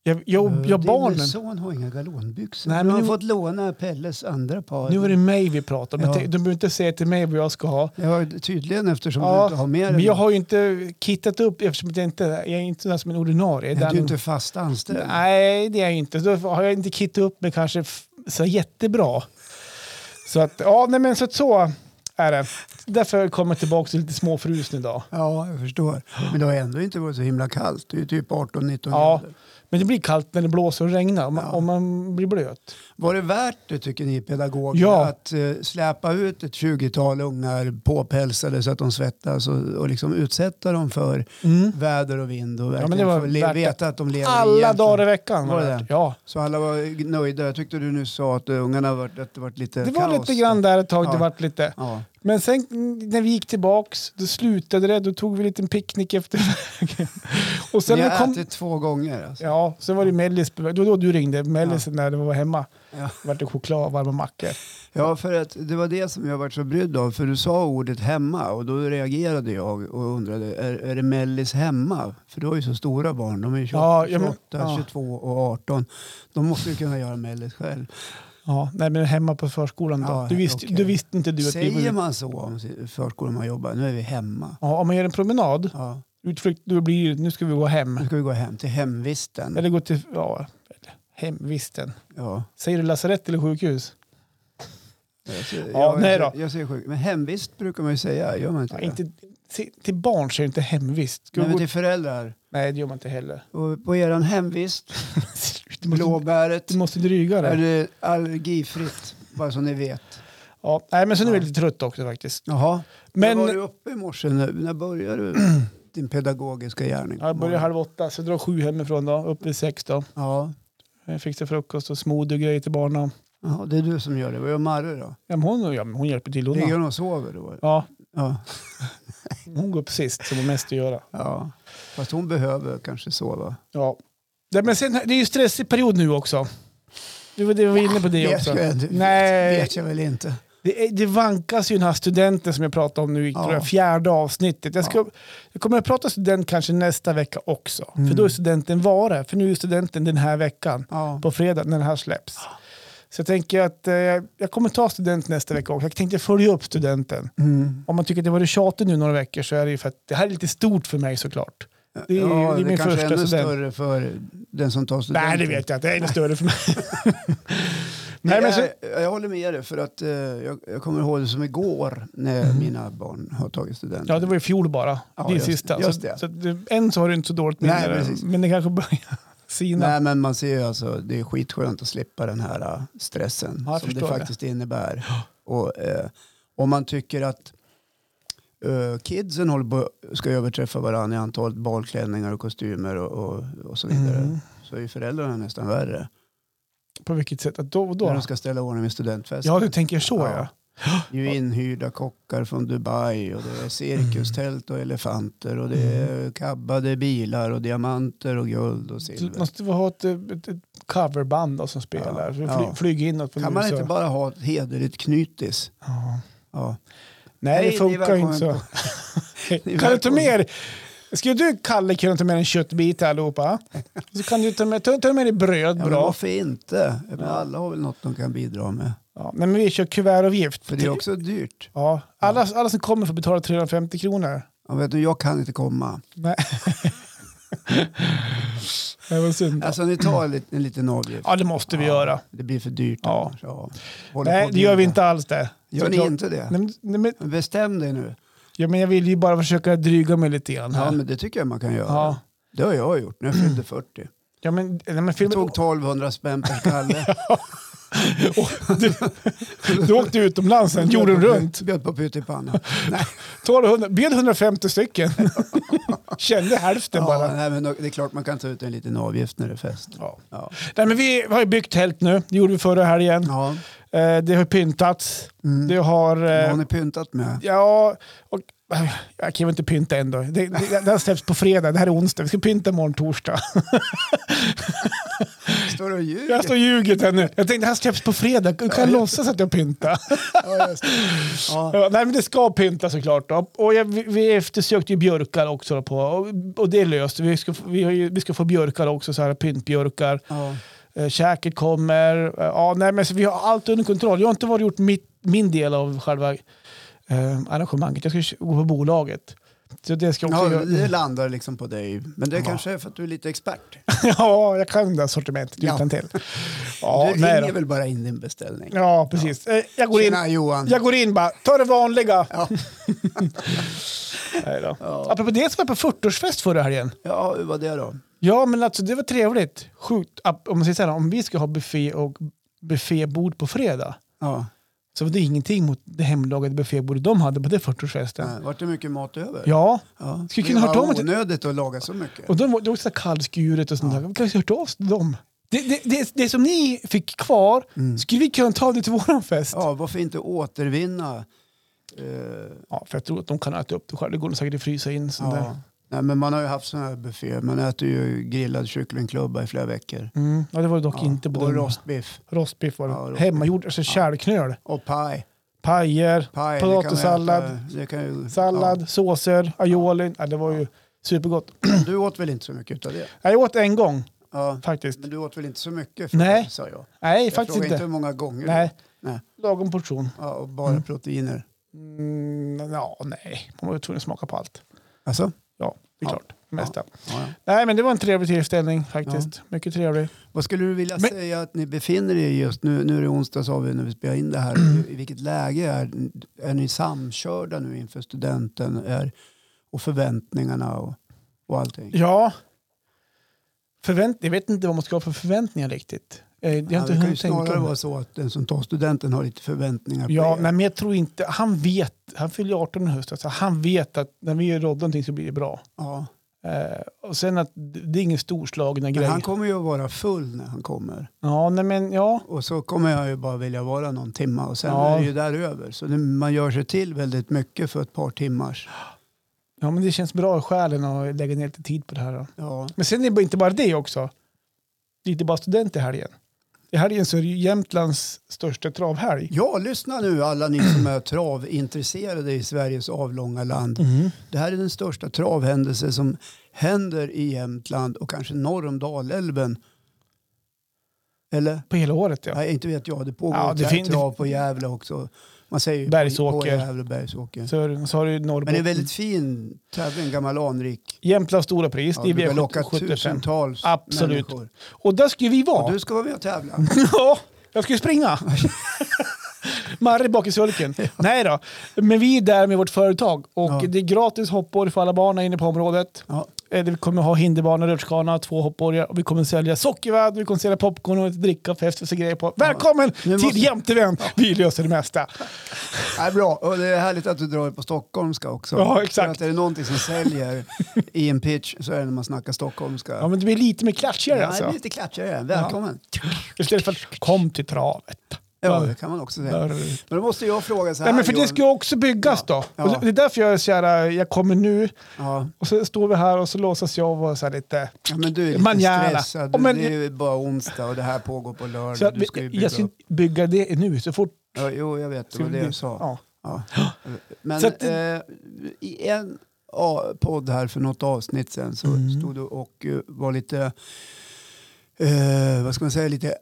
[SPEAKER 1] Jag, jag,
[SPEAKER 2] Eh,
[SPEAKER 1] jag
[SPEAKER 2] Din
[SPEAKER 1] barnen.
[SPEAKER 2] son har inga galonbyxor.
[SPEAKER 1] Nej,
[SPEAKER 2] Nej,
[SPEAKER 1] men
[SPEAKER 2] men har
[SPEAKER 1] nu-
[SPEAKER 2] fått låna Pelles andra par.
[SPEAKER 1] Nu är det mig vi pratar om.
[SPEAKER 2] Ja.
[SPEAKER 1] Jag tänkte- De behöver inte säga till mig vad jag ska ha.
[SPEAKER 2] Ja, tydligen eftersom du
[SPEAKER 1] Ja,
[SPEAKER 2] inte har med
[SPEAKER 1] Men
[SPEAKER 2] dig.
[SPEAKER 1] jag har ju inte kittat upp eftersom jag inte jag är inte sån här som en ordinarie.
[SPEAKER 2] Nej, Du är
[SPEAKER 1] Den-
[SPEAKER 2] ju inte fast anställd.
[SPEAKER 1] Nej, det är jag inte. Då har jag inte kittat upp mig kanske f- så jättebra. Så att, ja, nej men så, att så är det. Därför kommer jag tillbaka till lite småfrusen idag.
[SPEAKER 2] Ja, jag förstår. Men det har ändå inte varit så himla kallt. Det är ju typ 18-19
[SPEAKER 1] Ja.
[SPEAKER 2] grader.
[SPEAKER 1] Men det blir kallt när det blåser och regnar om man,
[SPEAKER 2] Ja.
[SPEAKER 1] om man blir blöt.
[SPEAKER 2] Var det värt det tycker ni pedagoger
[SPEAKER 1] Ja.
[SPEAKER 2] att eh, släpa ut ett 20-tal ungar påpälsade så att de svettas och, och liksom utsätta dem för väder och vind och verkligen
[SPEAKER 1] men det var
[SPEAKER 2] få le-
[SPEAKER 1] värt
[SPEAKER 2] veta att de lever i
[SPEAKER 1] Mm. Alla
[SPEAKER 2] Jämtland.
[SPEAKER 1] dagar i veckan.
[SPEAKER 2] Var det
[SPEAKER 1] varit.
[SPEAKER 2] det?
[SPEAKER 1] Ja.
[SPEAKER 2] Så alla var nöjda. Jag tyckte du nu sa att eh, ungarna varit, att det varit lite
[SPEAKER 1] Det var
[SPEAKER 2] kaos.
[SPEAKER 1] lite grann där ett tag.
[SPEAKER 2] Ja.
[SPEAKER 1] Det vart lite.
[SPEAKER 2] Ja.
[SPEAKER 1] Men sen när vi gick tillbaks, då slutade det. Då tog vi en liten picknick efter vägen. Och sen
[SPEAKER 2] Ni
[SPEAKER 1] när
[SPEAKER 2] har
[SPEAKER 1] vi kom...
[SPEAKER 2] ätit två gånger alltså.
[SPEAKER 1] Ja, sen var det Mellis. Det var då du ringde. Mellis när du var hemma.
[SPEAKER 2] Ja.
[SPEAKER 1] Det vart det choklad och varma mackor.
[SPEAKER 2] Ja, för att det var det som jag var så brydd av. För du sa ordet hemma och då reagerade jag och undrade, är, är det Mellis hemma? För du har ju så stora barn, de är ju 28,
[SPEAKER 1] Ja, ja, men-
[SPEAKER 2] 28
[SPEAKER 1] ja.
[SPEAKER 2] 22 och 18. De måste ju kunna göra Mellis själv.
[SPEAKER 1] Ja, nej, men hemma på förskolan då.
[SPEAKER 2] Ja,
[SPEAKER 1] du, visste,
[SPEAKER 2] okej.
[SPEAKER 1] du visste inte du att vi var
[SPEAKER 2] Säger
[SPEAKER 1] ute.
[SPEAKER 2] man så om sin- förskolan man jobbar? Nu är vi hemma.
[SPEAKER 1] Ja, om man gör en promenad,
[SPEAKER 2] Ja,
[SPEAKER 1] utflykt, då blir det, nu ska vi gå hem.
[SPEAKER 2] nu ska vi gå hem till hemvisten.
[SPEAKER 1] Eller gå till ja, hemvisten.
[SPEAKER 2] Ja.
[SPEAKER 1] Säger du lasarett eller sjukhus?
[SPEAKER 2] Jag, ser-
[SPEAKER 1] Ja, nej då.
[SPEAKER 2] jag, jag ser sjuk. Men hemvist brukar man ju säga, gör man inte
[SPEAKER 1] Ja,
[SPEAKER 2] det?
[SPEAKER 1] inte, se- till barn säger du inte hemvist. Ska nej,
[SPEAKER 2] Nej, men typ-
[SPEAKER 1] gå,
[SPEAKER 2] till föräldrar.
[SPEAKER 1] nej, det gör man inte heller.
[SPEAKER 2] Och på eran hemvist,
[SPEAKER 1] Du måste,
[SPEAKER 2] blåbäret.
[SPEAKER 1] du måste dryga det.
[SPEAKER 2] Är det allergifritt? Bara så ni vet.
[SPEAKER 1] Ja, nej, men så nu är jag lite trött också faktiskt.
[SPEAKER 2] Jaha. Men...
[SPEAKER 1] Men
[SPEAKER 2] Var du uppe i morse? När, när började du din pedagogiska gärning?
[SPEAKER 1] ja, jag börjar halv åtta, så jag drar sju hemifrån då, upp vid sex då.
[SPEAKER 2] Ja.
[SPEAKER 1] Jag fixar frukost och smoothie och grejer till barnen.
[SPEAKER 2] Jaha, det är du som gör det. Vad gör Marre då?
[SPEAKER 1] Ja, men hon, ja, men hon hjälper till
[SPEAKER 2] Ligger
[SPEAKER 1] hon.
[SPEAKER 2] hon och sover då?
[SPEAKER 1] Ja,
[SPEAKER 2] Ja.
[SPEAKER 1] hon går upp sist som har mest att göra.
[SPEAKER 2] ja. Fast hon behöver kanske sova.
[SPEAKER 1] Ja. Nej, men sen, det är ju stressig period nu också. Det var det vi var inne på det också.
[SPEAKER 2] jag, det
[SPEAKER 1] Nej.
[SPEAKER 2] vet jag väl inte.
[SPEAKER 1] Det, är, det vankas ju den här studenten som jag pratade om nu i
[SPEAKER 2] Ja.
[SPEAKER 1] tror jag, fjärde avsnittet. Jag, ska, jag kommer att prata student kanske nästa vecka också. För då är studenten vara. För nu är studenten den här veckan.
[SPEAKER 2] Ja.
[SPEAKER 1] På fredag när den här släpps. Så jag tänker att eh, jag kommer ta student nästa vecka också. Jag tänkte följa upp studenten.
[SPEAKER 2] Mm.
[SPEAKER 1] Om man tycker att det var tjatigt nu några veckor så är det ju för att det här är lite stort för mig såklart. Det är,
[SPEAKER 2] ja,
[SPEAKER 1] det är min
[SPEAKER 2] kanske
[SPEAKER 1] första
[SPEAKER 2] ännu
[SPEAKER 1] student.
[SPEAKER 2] större för den som tar studenten.
[SPEAKER 1] Nej, det vet jag inte. Det är ännu större för mig.
[SPEAKER 2] Det
[SPEAKER 1] Nej, men så,
[SPEAKER 2] är- Jag håller med dig för att eh, jag, jag kommer ihåg det som igår när mina barn har tagit studenten.
[SPEAKER 1] Mm. ja, det var i fjol bara.
[SPEAKER 2] Ja,
[SPEAKER 1] din
[SPEAKER 2] just-
[SPEAKER 1] sista.
[SPEAKER 2] just
[SPEAKER 1] så,
[SPEAKER 2] det.
[SPEAKER 1] Så, att du- än så har du inte så dåligt minne.
[SPEAKER 2] Nej,
[SPEAKER 1] där,
[SPEAKER 2] precis.
[SPEAKER 1] men det kanske börjar sina.
[SPEAKER 2] Nej, men man ser ju alltså, det är skitskönt att slippa den här äh, stressen
[SPEAKER 1] Ja, jag
[SPEAKER 2] som det
[SPEAKER 1] förstår det.
[SPEAKER 2] faktiskt innebär. Och eh, om man tycker att eh, kidsen håller på, ska överträffa varandra i antalet balklänningar och kostymer och, och, och så vidare
[SPEAKER 1] Mm.
[SPEAKER 2] så är ju föräldrarna nästan värre.
[SPEAKER 1] På vilket sätt? Att då,
[SPEAKER 2] När
[SPEAKER 1] då.
[SPEAKER 2] de ska ställa i ordning med studentfesten.
[SPEAKER 1] Ja, du tänker så ja.
[SPEAKER 2] Ja. Det är ju inhyrda kockar från Dubai och det är cirkustält och elefanter och det är
[SPEAKER 1] Mm.
[SPEAKER 2] kabbade bilar och diamanter och guld och
[SPEAKER 1] Du
[SPEAKER 2] silver.
[SPEAKER 1] måste vi ha ett, ett, ett coverband då, som spelar.
[SPEAKER 2] Ja.
[SPEAKER 1] Fly,
[SPEAKER 2] Ja.
[SPEAKER 1] Flyg inåt. på
[SPEAKER 2] Kan man
[SPEAKER 1] USA.
[SPEAKER 2] inte bara ha ett hederligt knytis?
[SPEAKER 1] Ja.
[SPEAKER 2] Ja.
[SPEAKER 1] Nej,
[SPEAKER 2] Hej,
[SPEAKER 1] det
[SPEAKER 2] ni
[SPEAKER 1] funkar ju
[SPEAKER 2] välkommen
[SPEAKER 1] inte så.
[SPEAKER 2] Ni
[SPEAKER 1] kan du
[SPEAKER 2] är
[SPEAKER 1] ta
[SPEAKER 2] välkomna.
[SPEAKER 1] med dig- Ska du, Kalle, kunna ta med en köttbit till allihopa? Så kan du ta med, ta, ta med dig bröd,
[SPEAKER 2] Ja, men
[SPEAKER 1] bra.
[SPEAKER 2] varför inte? Jag menar, alla har väl något de kan bidra med.
[SPEAKER 1] Ja, nej, men vi kör kuvertavgift.
[SPEAKER 2] För det är också dyrt.
[SPEAKER 1] Ja, alla, alla som kommer får betala 350 kronor.
[SPEAKER 2] Jag, vet, du, jag kan inte komma.
[SPEAKER 1] Nej. det var synd.
[SPEAKER 2] Alltså ni tar en liten, en liten avgift.
[SPEAKER 1] Ja, det måste vi göra.
[SPEAKER 2] Det blir för dyrt.
[SPEAKER 1] Ja.
[SPEAKER 2] annars. Ja. Håller på
[SPEAKER 1] Nej,
[SPEAKER 2] att
[SPEAKER 1] det gör vi
[SPEAKER 2] bjuda.
[SPEAKER 1] inte alls det.
[SPEAKER 2] Gör ni
[SPEAKER 1] Såklart.
[SPEAKER 2] inte det?
[SPEAKER 1] Nej, men- nej, men,
[SPEAKER 2] Men Bestäm dig nu.
[SPEAKER 1] ja, men jag vill ju bara försöka dryga mig lite grann
[SPEAKER 2] Ja,
[SPEAKER 1] här.
[SPEAKER 2] men det tycker jag man kan göra.
[SPEAKER 1] Ja.
[SPEAKER 2] Det har jag gjort när jag fyllde 40.
[SPEAKER 1] Ja, men, nej, men
[SPEAKER 2] Jag
[SPEAKER 1] filmen...
[SPEAKER 2] tog 1200 spänn per skalle.
[SPEAKER 1] Åh, du, du åkte utomlands sen, jorden runt.
[SPEAKER 2] Bjöd på pyttipanna. Nej,
[SPEAKER 1] 1200, bjöd 150 stycken. Kände hälften
[SPEAKER 2] ja,
[SPEAKER 1] bara.
[SPEAKER 2] nej, men det är klart man kan ta ut en liten avgift när det är fest.
[SPEAKER 1] Ja.
[SPEAKER 2] Ja.
[SPEAKER 1] Nej, men vi har ju byggt tält nu. Det gjorde vi förra helgen.
[SPEAKER 2] Ja.
[SPEAKER 1] Eh, det har pyntats.
[SPEAKER 2] Mm.
[SPEAKER 1] Det har...
[SPEAKER 2] Vad
[SPEAKER 1] Eh,
[SPEAKER 2] har ni pyntat med?
[SPEAKER 1] ja, och, eh, jag kan väl inte pynta ändå. Det, det, det här släpps på fredag. Det här är onsdag. Vi ska pynta imorgon torsdag.
[SPEAKER 2] Står du och ljuger?
[SPEAKER 1] Jag står och ljuger här nu. Jag tänkte det här släpps på fredag. Du kan låtsas att jag pyntar.
[SPEAKER 2] Ja, just det. ja.
[SPEAKER 1] Ja, nej, men det ska pynta såklart. Då. Och jag, vi, vi eftersökte ju björkar också. Då på, och, och det är löst. Vi ska, få- vi, har ju, vi ska få björkar också, så här, pyntbjörkar.
[SPEAKER 2] Ja.
[SPEAKER 1] Eh, käket kommer. Eh, ja, nej, men så vi har allt under kontroll. Jag har inte varit gjort mitt, min del av själva eh, arrangemanget. Jag ska gå på bolaget. Så det ska jag också
[SPEAKER 2] Ja,
[SPEAKER 1] göra.
[SPEAKER 2] det landar liksom på dig. Men det
[SPEAKER 1] Ja.
[SPEAKER 2] kanske är för att du är lite expert.
[SPEAKER 1] ja, jag kan det här sortimentet
[SPEAKER 2] Ja.
[SPEAKER 1] utantill. Ja,
[SPEAKER 2] du
[SPEAKER 1] nej
[SPEAKER 2] ringer
[SPEAKER 1] då.
[SPEAKER 2] väl bara in din beställning.
[SPEAKER 1] Ja, precis. Eh, jag, går in,
[SPEAKER 2] Tjena Johan.
[SPEAKER 1] jag går in bara, ta det vanliga.
[SPEAKER 2] Ja.
[SPEAKER 1] Nej då.
[SPEAKER 2] Ja.
[SPEAKER 1] Apropå det så var jag på 40-årsfest förra helgen.
[SPEAKER 2] ja, hur var det då?
[SPEAKER 1] Ja, men alltså det var trevligt. Sjukt. Ap- Om man säger så här, om vi ska ha buffé och buffébord på fredag
[SPEAKER 2] Ja.
[SPEAKER 1] så var det ingenting mot det hemlagade buffébordet de hade på det 40-årsfesten.
[SPEAKER 2] Ja, Eh, Vart det mycket mat över?
[SPEAKER 1] Ja,
[SPEAKER 2] Ja.
[SPEAKER 1] Skulle
[SPEAKER 2] det
[SPEAKER 1] kunna
[SPEAKER 2] var
[SPEAKER 1] hört om att-
[SPEAKER 2] onödigt att laga så mycket.
[SPEAKER 1] och de var, det var också så här kallskuret och sånt där. Vi kanske hört av oss till dem. Det, det, det, det som ni fick kvar skulle vi kunna ta det till våran fest. Ja.
[SPEAKER 2] Mm. Ja, varför inte återvinna? eh,
[SPEAKER 1] för jag tror att de kan äta upp det själv. Det går nog säkert att frysa in. Sånt där.
[SPEAKER 2] ja. Nej, men man har ju haft sådana här bufféer. Man äter ju grillad kycklingklubba i flera veckor.
[SPEAKER 1] Mm. ja, det var det dock
[SPEAKER 2] Ja,
[SPEAKER 1] inte på
[SPEAKER 2] och
[SPEAKER 1] den.
[SPEAKER 2] rostbiff
[SPEAKER 1] Rostbiff var det.
[SPEAKER 2] Ja, rostbiff.
[SPEAKER 1] Hemmagjord, alltså kärlknöl.
[SPEAKER 2] och paj.
[SPEAKER 1] Pajer,
[SPEAKER 2] paj det
[SPEAKER 1] Potatissallad.
[SPEAKER 2] kan man äta. Det kan ju,
[SPEAKER 1] sallad, såser, aioli. Ja, det var ju supergott.
[SPEAKER 2] Ja. Du åt väl inte så mycket av det?
[SPEAKER 1] Jag åt en gång
[SPEAKER 2] Ja.
[SPEAKER 1] faktiskt.
[SPEAKER 2] Men du åt väl inte så mycket?
[SPEAKER 1] Nej.
[SPEAKER 2] sa jag.
[SPEAKER 1] Nej,
[SPEAKER 2] Jag
[SPEAKER 1] faktiskt
[SPEAKER 2] frågade
[SPEAKER 1] inte.
[SPEAKER 2] inte hur många gånger.
[SPEAKER 1] Nej.
[SPEAKER 2] Nej.
[SPEAKER 1] Lagom portion.
[SPEAKER 2] Ja, och bara
[SPEAKER 1] Mm.
[SPEAKER 2] proteiner.
[SPEAKER 1] Mm, ja, nej. Man var ju tvungen att smaka på allt.
[SPEAKER 2] Alltså?
[SPEAKER 1] Ja, det är
[SPEAKER 2] Ja.
[SPEAKER 1] klart. Det mesta.
[SPEAKER 2] Ja, ja.
[SPEAKER 1] Nej, men det var en trevlig tillställning faktiskt. Mycket trevlig.
[SPEAKER 2] Vad skulle du vilja
[SPEAKER 1] Men-
[SPEAKER 2] säga att ni befinner er i just nu? Nu är det onsdag sa vi när vi spelar in det
[SPEAKER 1] Mm.
[SPEAKER 2] här. I vilket läge är, är ni samkörda nu inför studenten är, och förväntningarna och, och allting?
[SPEAKER 1] Ja. Förvänt jag vet inte vad man ska ha för förväntningar riktigt. Eh, Jag har
[SPEAKER 2] Ja,
[SPEAKER 1] inte
[SPEAKER 2] det kan ju
[SPEAKER 1] hunnit tänka.
[SPEAKER 2] snarare
[SPEAKER 1] om det.
[SPEAKER 2] vara så att den som tar studenten har lite förväntningar på
[SPEAKER 1] Ja,
[SPEAKER 2] er.
[SPEAKER 1] nej, men jag tror inte. Han vet. Han fyller 18 i höst. Alltså, han vet att när vi gör rodd någonting så blir det bra.
[SPEAKER 2] Ja.
[SPEAKER 1] Eh, och sen att det är ingen storslagna
[SPEAKER 2] Men
[SPEAKER 1] grej.
[SPEAKER 2] han kommer ju att vara full när han kommer.
[SPEAKER 1] Ja, nej, men ja.
[SPEAKER 2] Och så kommer jag ju bara vilja vara någon timma och sen
[SPEAKER 1] Ja.
[SPEAKER 2] är det ju där över. Så det, man gör sig till väldigt mycket för ett par timmars.
[SPEAKER 1] Ja, men det känns bra i själen att lägga ner lite tid på det här. Då.
[SPEAKER 2] Ja.
[SPEAKER 1] Men sen är det inte bara det också. Det är inte bara student i helgen. I helgen så är det ju Jämtlands största travhelg.
[SPEAKER 2] Ja, lyssna nu alla ni som är travintresserade i Sveriges avlånga land.
[SPEAKER 1] Mm.
[SPEAKER 2] Det här är den största travhändelse som händer i Jämtland och kanske norr om Dalälven. Eller?
[SPEAKER 1] På hela året ja.
[SPEAKER 2] Nej, inte vet jag. Det pågår
[SPEAKER 1] Ja,
[SPEAKER 2] ett
[SPEAKER 1] det fin-
[SPEAKER 2] trav på Gävle också. Man säger ju på, på
[SPEAKER 1] Bergsåker.
[SPEAKER 2] Gävle, Bergsåker.
[SPEAKER 1] Så, är det- så har du
[SPEAKER 2] Men
[SPEAKER 1] Norrbotten.
[SPEAKER 2] det är en väldigt fin tävling, gammal anrik.
[SPEAKER 1] Jämtlands stora pris,
[SPEAKER 2] Ja,
[SPEAKER 1] det
[SPEAKER 2] du
[SPEAKER 1] är
[SPEAKER 2] brukar locka
[SPEAKER 1] V75.
[SPEAKER 2] tusentals
[SPEAKER 1] Absolut.
[SPEAKER 2] människor.
[SPEAKER 1] Och där ska ju vi
[SPEAKER 2] Och
[SPEAKER 1] vara.
[SPEAKER 2] du ska vara med och tävla.
[SPEAKER 1] Ja, jag ska ju springa. Marre bak i sulken. Nej då, men vi är där med vårt företag och
[SPEAKER 2] Ja.
[SPEAKER 1] det är gratis hoppborg för alla barn här inne på området.
[SPEAKER 2] Ja.
[SPEAKER 1] Eh, Vi kommer ha hinderbana, rutschkana, två hoppborgar och vi kommer sälja sockervadd, vi kommer sälja popcorn och dricka och fest och så grejer på. Välkommen
[SPEAKER 2] Nu måste-
[SPEAKER 1] till Jämtevent! Vi löser det mesta.
[SPEAKER 2] Ja, bra, och det är härligt att du drar på stockholmska också.
[SPEAKER 1] Ja, exakt.
[SPEAKER 2] För att är det någonting som säljer i en pitch så är det när man snackar stockholmska.
[SPEAKER 1] Ja, men det blir lite mer klatschigare
[SPEAKER 2] Nej, det blir
[SPEAKER 1] alltså.
[SPEAKER 2] lite klatschigare. Välkommen. Ja.
[SPEAKER 1] Istället för att kom till travet.
[SPEAKER 2] det kan man också säga.
[SPEAKER 1] Där-
[SPEAKER 2] Men då måste jag fråga så här.
[SPEAKER 1] Nej, men för det
[SPEAKER 2] Johan.
[SPEAKER 1] ska ju också byggas då.
[SPEAKER 2] Ja.
[SPEAKER 1] Och det- det är därför jag är så här, jag kommer nu
[SPEAKER 2] ja.
[SPEAKER 1] och så står vi här och så låtsas jag vara så här lite...
[SPEAKER 2] ja, men du är lite
[SPEAKER 1] Manjana.
[SPEAKER 2] stressad.
[SPEAKER 1] Ja, men-
[SPEAKER 2] Det är ju bara onsdag och det här pågår på lördag.
[SPEAKER 1] Så att
[SPEAKER 2] du ska ju
[SPEAKER 1] vi,
[SPEAKER 2] bygga
[SPEAKER 1] jag ska
[SPEAKER 2] upp.
[SPEAKER 1] bygga det nu så fort...
[SPEAKER 2] Ja, jo, jag vet. Det var det jag sa.
[SPEAKER 1] Ja.
[SPEAKER 2] Ja. Men
[SPEAKER 1] Så att-
[SPEAKER 2] eh, i en ja, podd här för något avsnitt sen så
[SPEAKER 1] Mm.
[SPEAKER 2] stod du och eh, var lite, eh, vad ska man säga, lite,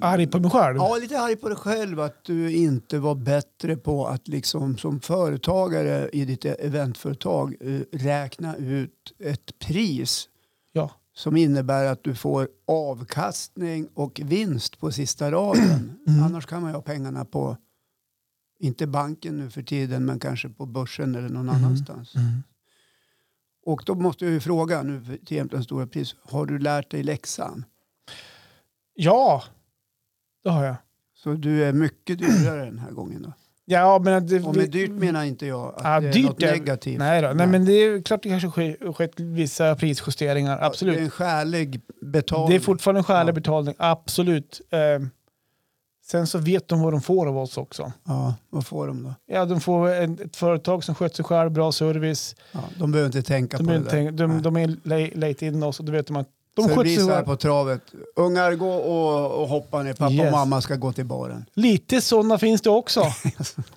[SPEAKER 1] Arg på mig själv.
[SPEAKER 2] ja, lite arg på dig själv att du inte var bättre på att liksom som företagare i ditt e-, eventföretag eh, räkna ut ett pris
[SPEAKER 1] Ja.
[SPEAKER 2] som innebär att du får avkastning och vinst på sista raden.
[SPEAKER 1] Mm.
[SPEAKER 2] Annars kan man ju ha pengarna på, inte banken nu för tiden, men kanske på börsen eller någon
[SPEAKER 1] Mm.
[SPEAKER 2] annanstans.
[SPEAKER 1] Mm.
[SPEAKER 2] Och då måste jag ju fråga nu för- till Jämtlands stora pris, har du lärt dig läxan?
[SPEAKER 1] Ja, det har jag.
[SPEAKER 2] Så du är mycket dyrare den här gången då?
[SPEAKER 1] Ja, men det,
[SPEAKER 2] Och med dyrt menar inte jag att
[SPEAKER 1] Ja,
[SPEAKER 2] det är
[SPEAKER 1] dyrt
[SPEAKER 2] något
[SPEAKER 1] är-
[SPEAKER 2] negativt.
[SPEAKER 1] Nej, då. Nej, men det är klart det kanske ske- skett vissa prisjusteringar,
[SPEAKER 2] Ja,
[SPEAKER 1] absolut.
[SPEAKER 2] Det är en skälig betalning.
[SPEAKER 1] Det är fortfarande en skälig
[SPEAKER 2] Ja.
[SPEAKER 1] betalning, absolut. Ehm, sen så vet de vad de får av oss också.
[SPEAKER 2] Ja, vad får de då?
[SPEAKER 1] Ja, de får en, ett företag som sköter sig själv, bra service.
[SPEAKER 2] Ja, de behöver inte tänka
[SPEAKER 1] De,
[SPEAKER 2] på
[SPEAKER 1] är
[SPEAKER 2] det
[SPEAKER 1] inte,
[SPEAKER 2] där.
[SPEAKER 1] tänk- de,
[SPEAKER 2] Nej.
[SPEAKER 1] de är lej- lejt in oss och då vet de att de
[SPEAKER 2] De så det
[SPEAKER 1] sköter
[SPEAKER 2] blir
[SPEAKER 1] sig
[SPEAKER 2] så här
[SPEAKER 1] själv.
[SPEAKER 2] på travet. Ungar, gå och, och hoppa ner. Pappa
[SPEAKER 1] Yes.
[SPEAKER 2] och mamma ska gå till baren.
[SPEAKER 1] Lite sådana finns det också.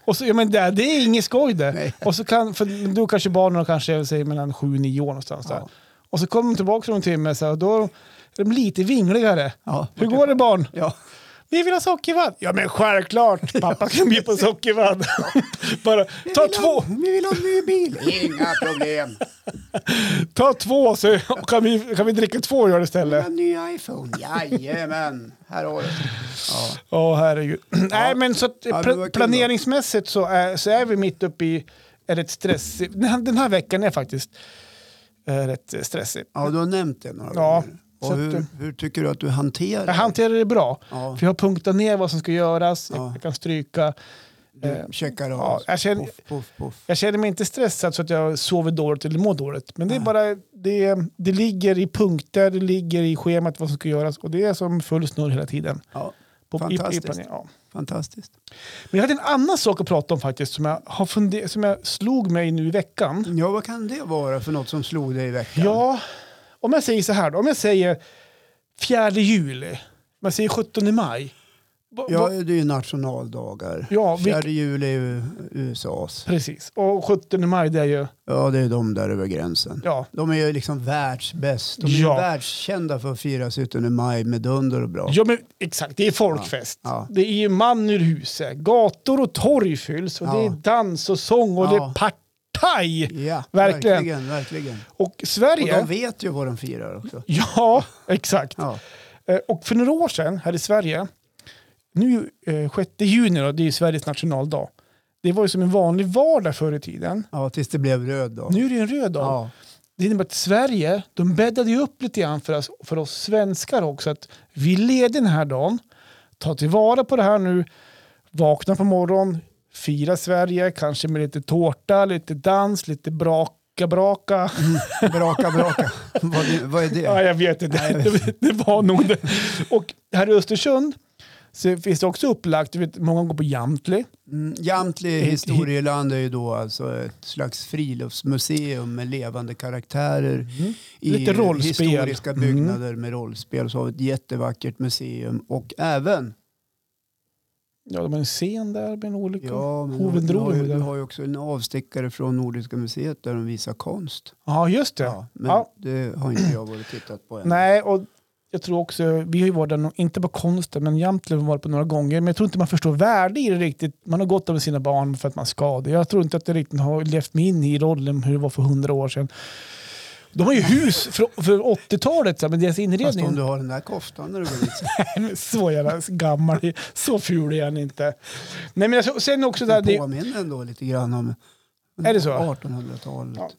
[SPEAKER 1] och så, ja, men det, det är inget skoj det.
[SPEAKER 2] Nej.
[SPEAKER 1] Och så kan, för då kanske barnen kanske säger mellan 7 och 9 år någonstans. Där.
[SPEAKER 2] Ja.
[SPEAKER 1] Och så kommer de tillbaka om en timme så här, och då är de lite vingligare.
[SPEAKER 2] Ja,
[SPEAKER 1] Hur går det barn?
[SPEAKER 2] Ja.
[SPEAKER 1] Vi vill ha sockervadd. Ja men självklart, pappa kan bjuda på sockervadd. Bara, ta två,
[SPEAKER 2] Vi vill ha en ny bil. Inga problem.
[SPEAKER 1] ta två så kan vi, kan vi dricka två öl
[SPEAKER 2] Vi
[SPEAKER 1] istället.
[SPEAKER 2] har en ny iPhone. Jajamän. Här har du. Ja.
[SPEAKER 1] Ja herregud. Nej men så att,
[SPEAKER 2] det var
[SPEAKER 1] pla-
[SPEAKER 2] kul då.
[SPEAKER 1] planeringsmässigt så är, så är vi mitt uppe i är rätt stressigt. Den här, den här veckan är faktiskt eh, rätt stressig.
[SPEAKER 2] ja, du har nämnt det några
[SPEAKER 1] Ja,
[SPEAKER 2] gånger.
[SPEAKER 1] så
[SPEAKER 2] Och
[SPEAKER 1] att,
[SPEAKER 2] hur, hur tycker du att du hanterar det?
[SPEAKER 1] Jag hanterar det bra.
[SPEAKER 2] Ja.
[SPEAKER 1] För jag har punktat ner vad som ska göras.
[SPEAKER 2] Ja.
[SPEAKER 1] Jag kan stryka.
[SPEAKER 2] Du checkar av.
[SPEAKER 1] ja, jag känner-
[SPEAKER 2] Puff, puff, puff.
[SPEAKER 1] Jag känner mig inte stressad så att jag sover dåligt eller mår dåligt. Men det är
[SPEAKER 2] Nej.
[SPEAKER 1] bara, det, det ligger i punkter, det ligger i schemat vad som ska göras och det är som full snurr hela tiden.
[SPEAKER 2] Ja,
[SPEAKER 1] På, i- i
[SPEAKER 2] Fantastiskt.
[SPEAKER 1] planering, ja.
[SPEAKER 2] fantastiskt.
[SPEAKER 1] Men jag hade en annan sak att prata om faktiskt som jag, har funder- som jag slog mig nu i veckan.
[SPEAKER 2] Ja, vad kan det vara för något som slog dig i veckan?
[SPEAKER 1] Ja, om jag säger så här då, om jag säger 4 juli, om jag säger 17 maj. Va-
[SPEAKER 2] Ja,
[SPEAKER 1] va-
[SPEAKER 2] det är ju nationaldagar.
[SPEAKER 1] Ja, vi-
[SPEAKER 2] 4 juli är ju USAs.
[SPEAKER 1] Precis, och 17 maj det är ju,
[SPEAKER 2] Ja, det är de där över gränsen.
[SPEAKER 1] ja,
[SPEAKER 2] De är ju liksom världsbäst. De är
[SPEAKER 1] Ja.
[SPEAKER 2] ju världskända för att fira 17 maj med dunder och brak.
[SPEAKER 1] ja men exakt, det är folkfest.
[SPEAKER 2] Ja.
[SPEAKER 1] Det är ju man ur huset. Gator och torg fylls och
[SPEAKER 2] Ja.
[SPEAKER 1] det är dans och sång och det är
[SPEAKER 2] Ja.
[SPEAKER 1] partaj.
[SPEAKER 2] Ja,
[SPEAKER 1] Verkligen.
[SPEAKER 2] verkligen. verkligen.
[SPEAKER 1] Och
[SPEAKER 2] Och
[SPEAKER 1] Sverige...
[SPEAKER 2] de vet ju vad de firar också.
[SPEAKER 1] Ja, exakt.
[SPEAKER 2] Ja,
[SPEAKER 1] Eh, Och för några år sedan här i Sverige, nu eh, 6 juni då, det är ju Sveriges nationaldag. Det var ju som en vanlig vardag förr i tiden.
[SPEAKER 2] ja tills det blev röd dag.
[SPEAKER 1] Nu är det ju en röd dag.
[SPEAKER 2] Ja,
[SPEAKER 1] Det innebär att Sverige, de bäddade ju upp lite grann för oss, för oss svenskar också. Att vi leder den här dagen, ta tillvara på det här nu, vakna på morgonen, fira Sverige, kanske med lite tårta, lite dans, lite braka braka.
[SPEAKER 2] braka braka. vad, det, vad är
[SPEAKER 1] Ja,
[SPEAKER 2] det?
[SPEAKER 1] jag vet inte. Det, det var nog det. Och här i Östersund så finns det också upplagt, du vet, många går på Jamtli.
[SPEAKER 2] Mm, Jamtli historieland är ju då alltså ett slags friluftsmuseum med levande karaktärer. i
[SPEAKER 1] Mm-hmm. Lite rollspel.
[SPEAKER 2] historiska
[SPEAKER 1] Mm.
[SPEAKER 2] byggnader med rollspel. Så har vi ett jättevackert museum och även
[SPEAKER 1] Ja, de har en scen där med en olycka. Ja,
[SPEAKER 2] ja, men
[SPEAKER 1] Hoven
[SPEAKER 2] du,
[SPEAKER 1] drog
[SPEAKER 2] har ju,
[SPEAKER 1] vi där.
[SPEAKER 2] du har ju också en avstickare från Nordiska museet där de visar konst.
[SPEAKER 1] just det.
[SPEAKER 2] Ja, men
[SPEAKER 1] Ja.
[SPEAKER 2] det har inte jag varit och tittat på än.
[SPEAKER 1] Nej, och jag tror också, vi har ju varit där, nå- inte på konsten, men Jamtli har varit på några gånger. Men jag tror inte man förstår värde i det riktigt. Man har gått där med sina barn för att man ska det. Jag tror inte att det riktigt har levt mig in i rollen hur det var för hundra år sedan. De har ju hus för, för 80-talet, så här, men deras
[SPEAKER 2] Fast
[SPEAKER 1] inredning...
[SPEAKER 2] om du har den där koftan när du går dit. så-
[SPEAKER 1] Men Så jävla gammal, så ful är han inte. Nej, men alltså, sen också där,
[SPEAKER 2] Det
[SPEAKER 1] det,
[SPEAKER 2] påminner ändå lite grann om
[SPEAKER 1] Är det så?
[SPEAKER 2] 1800-talet.
[SPEAKER 1] Ja.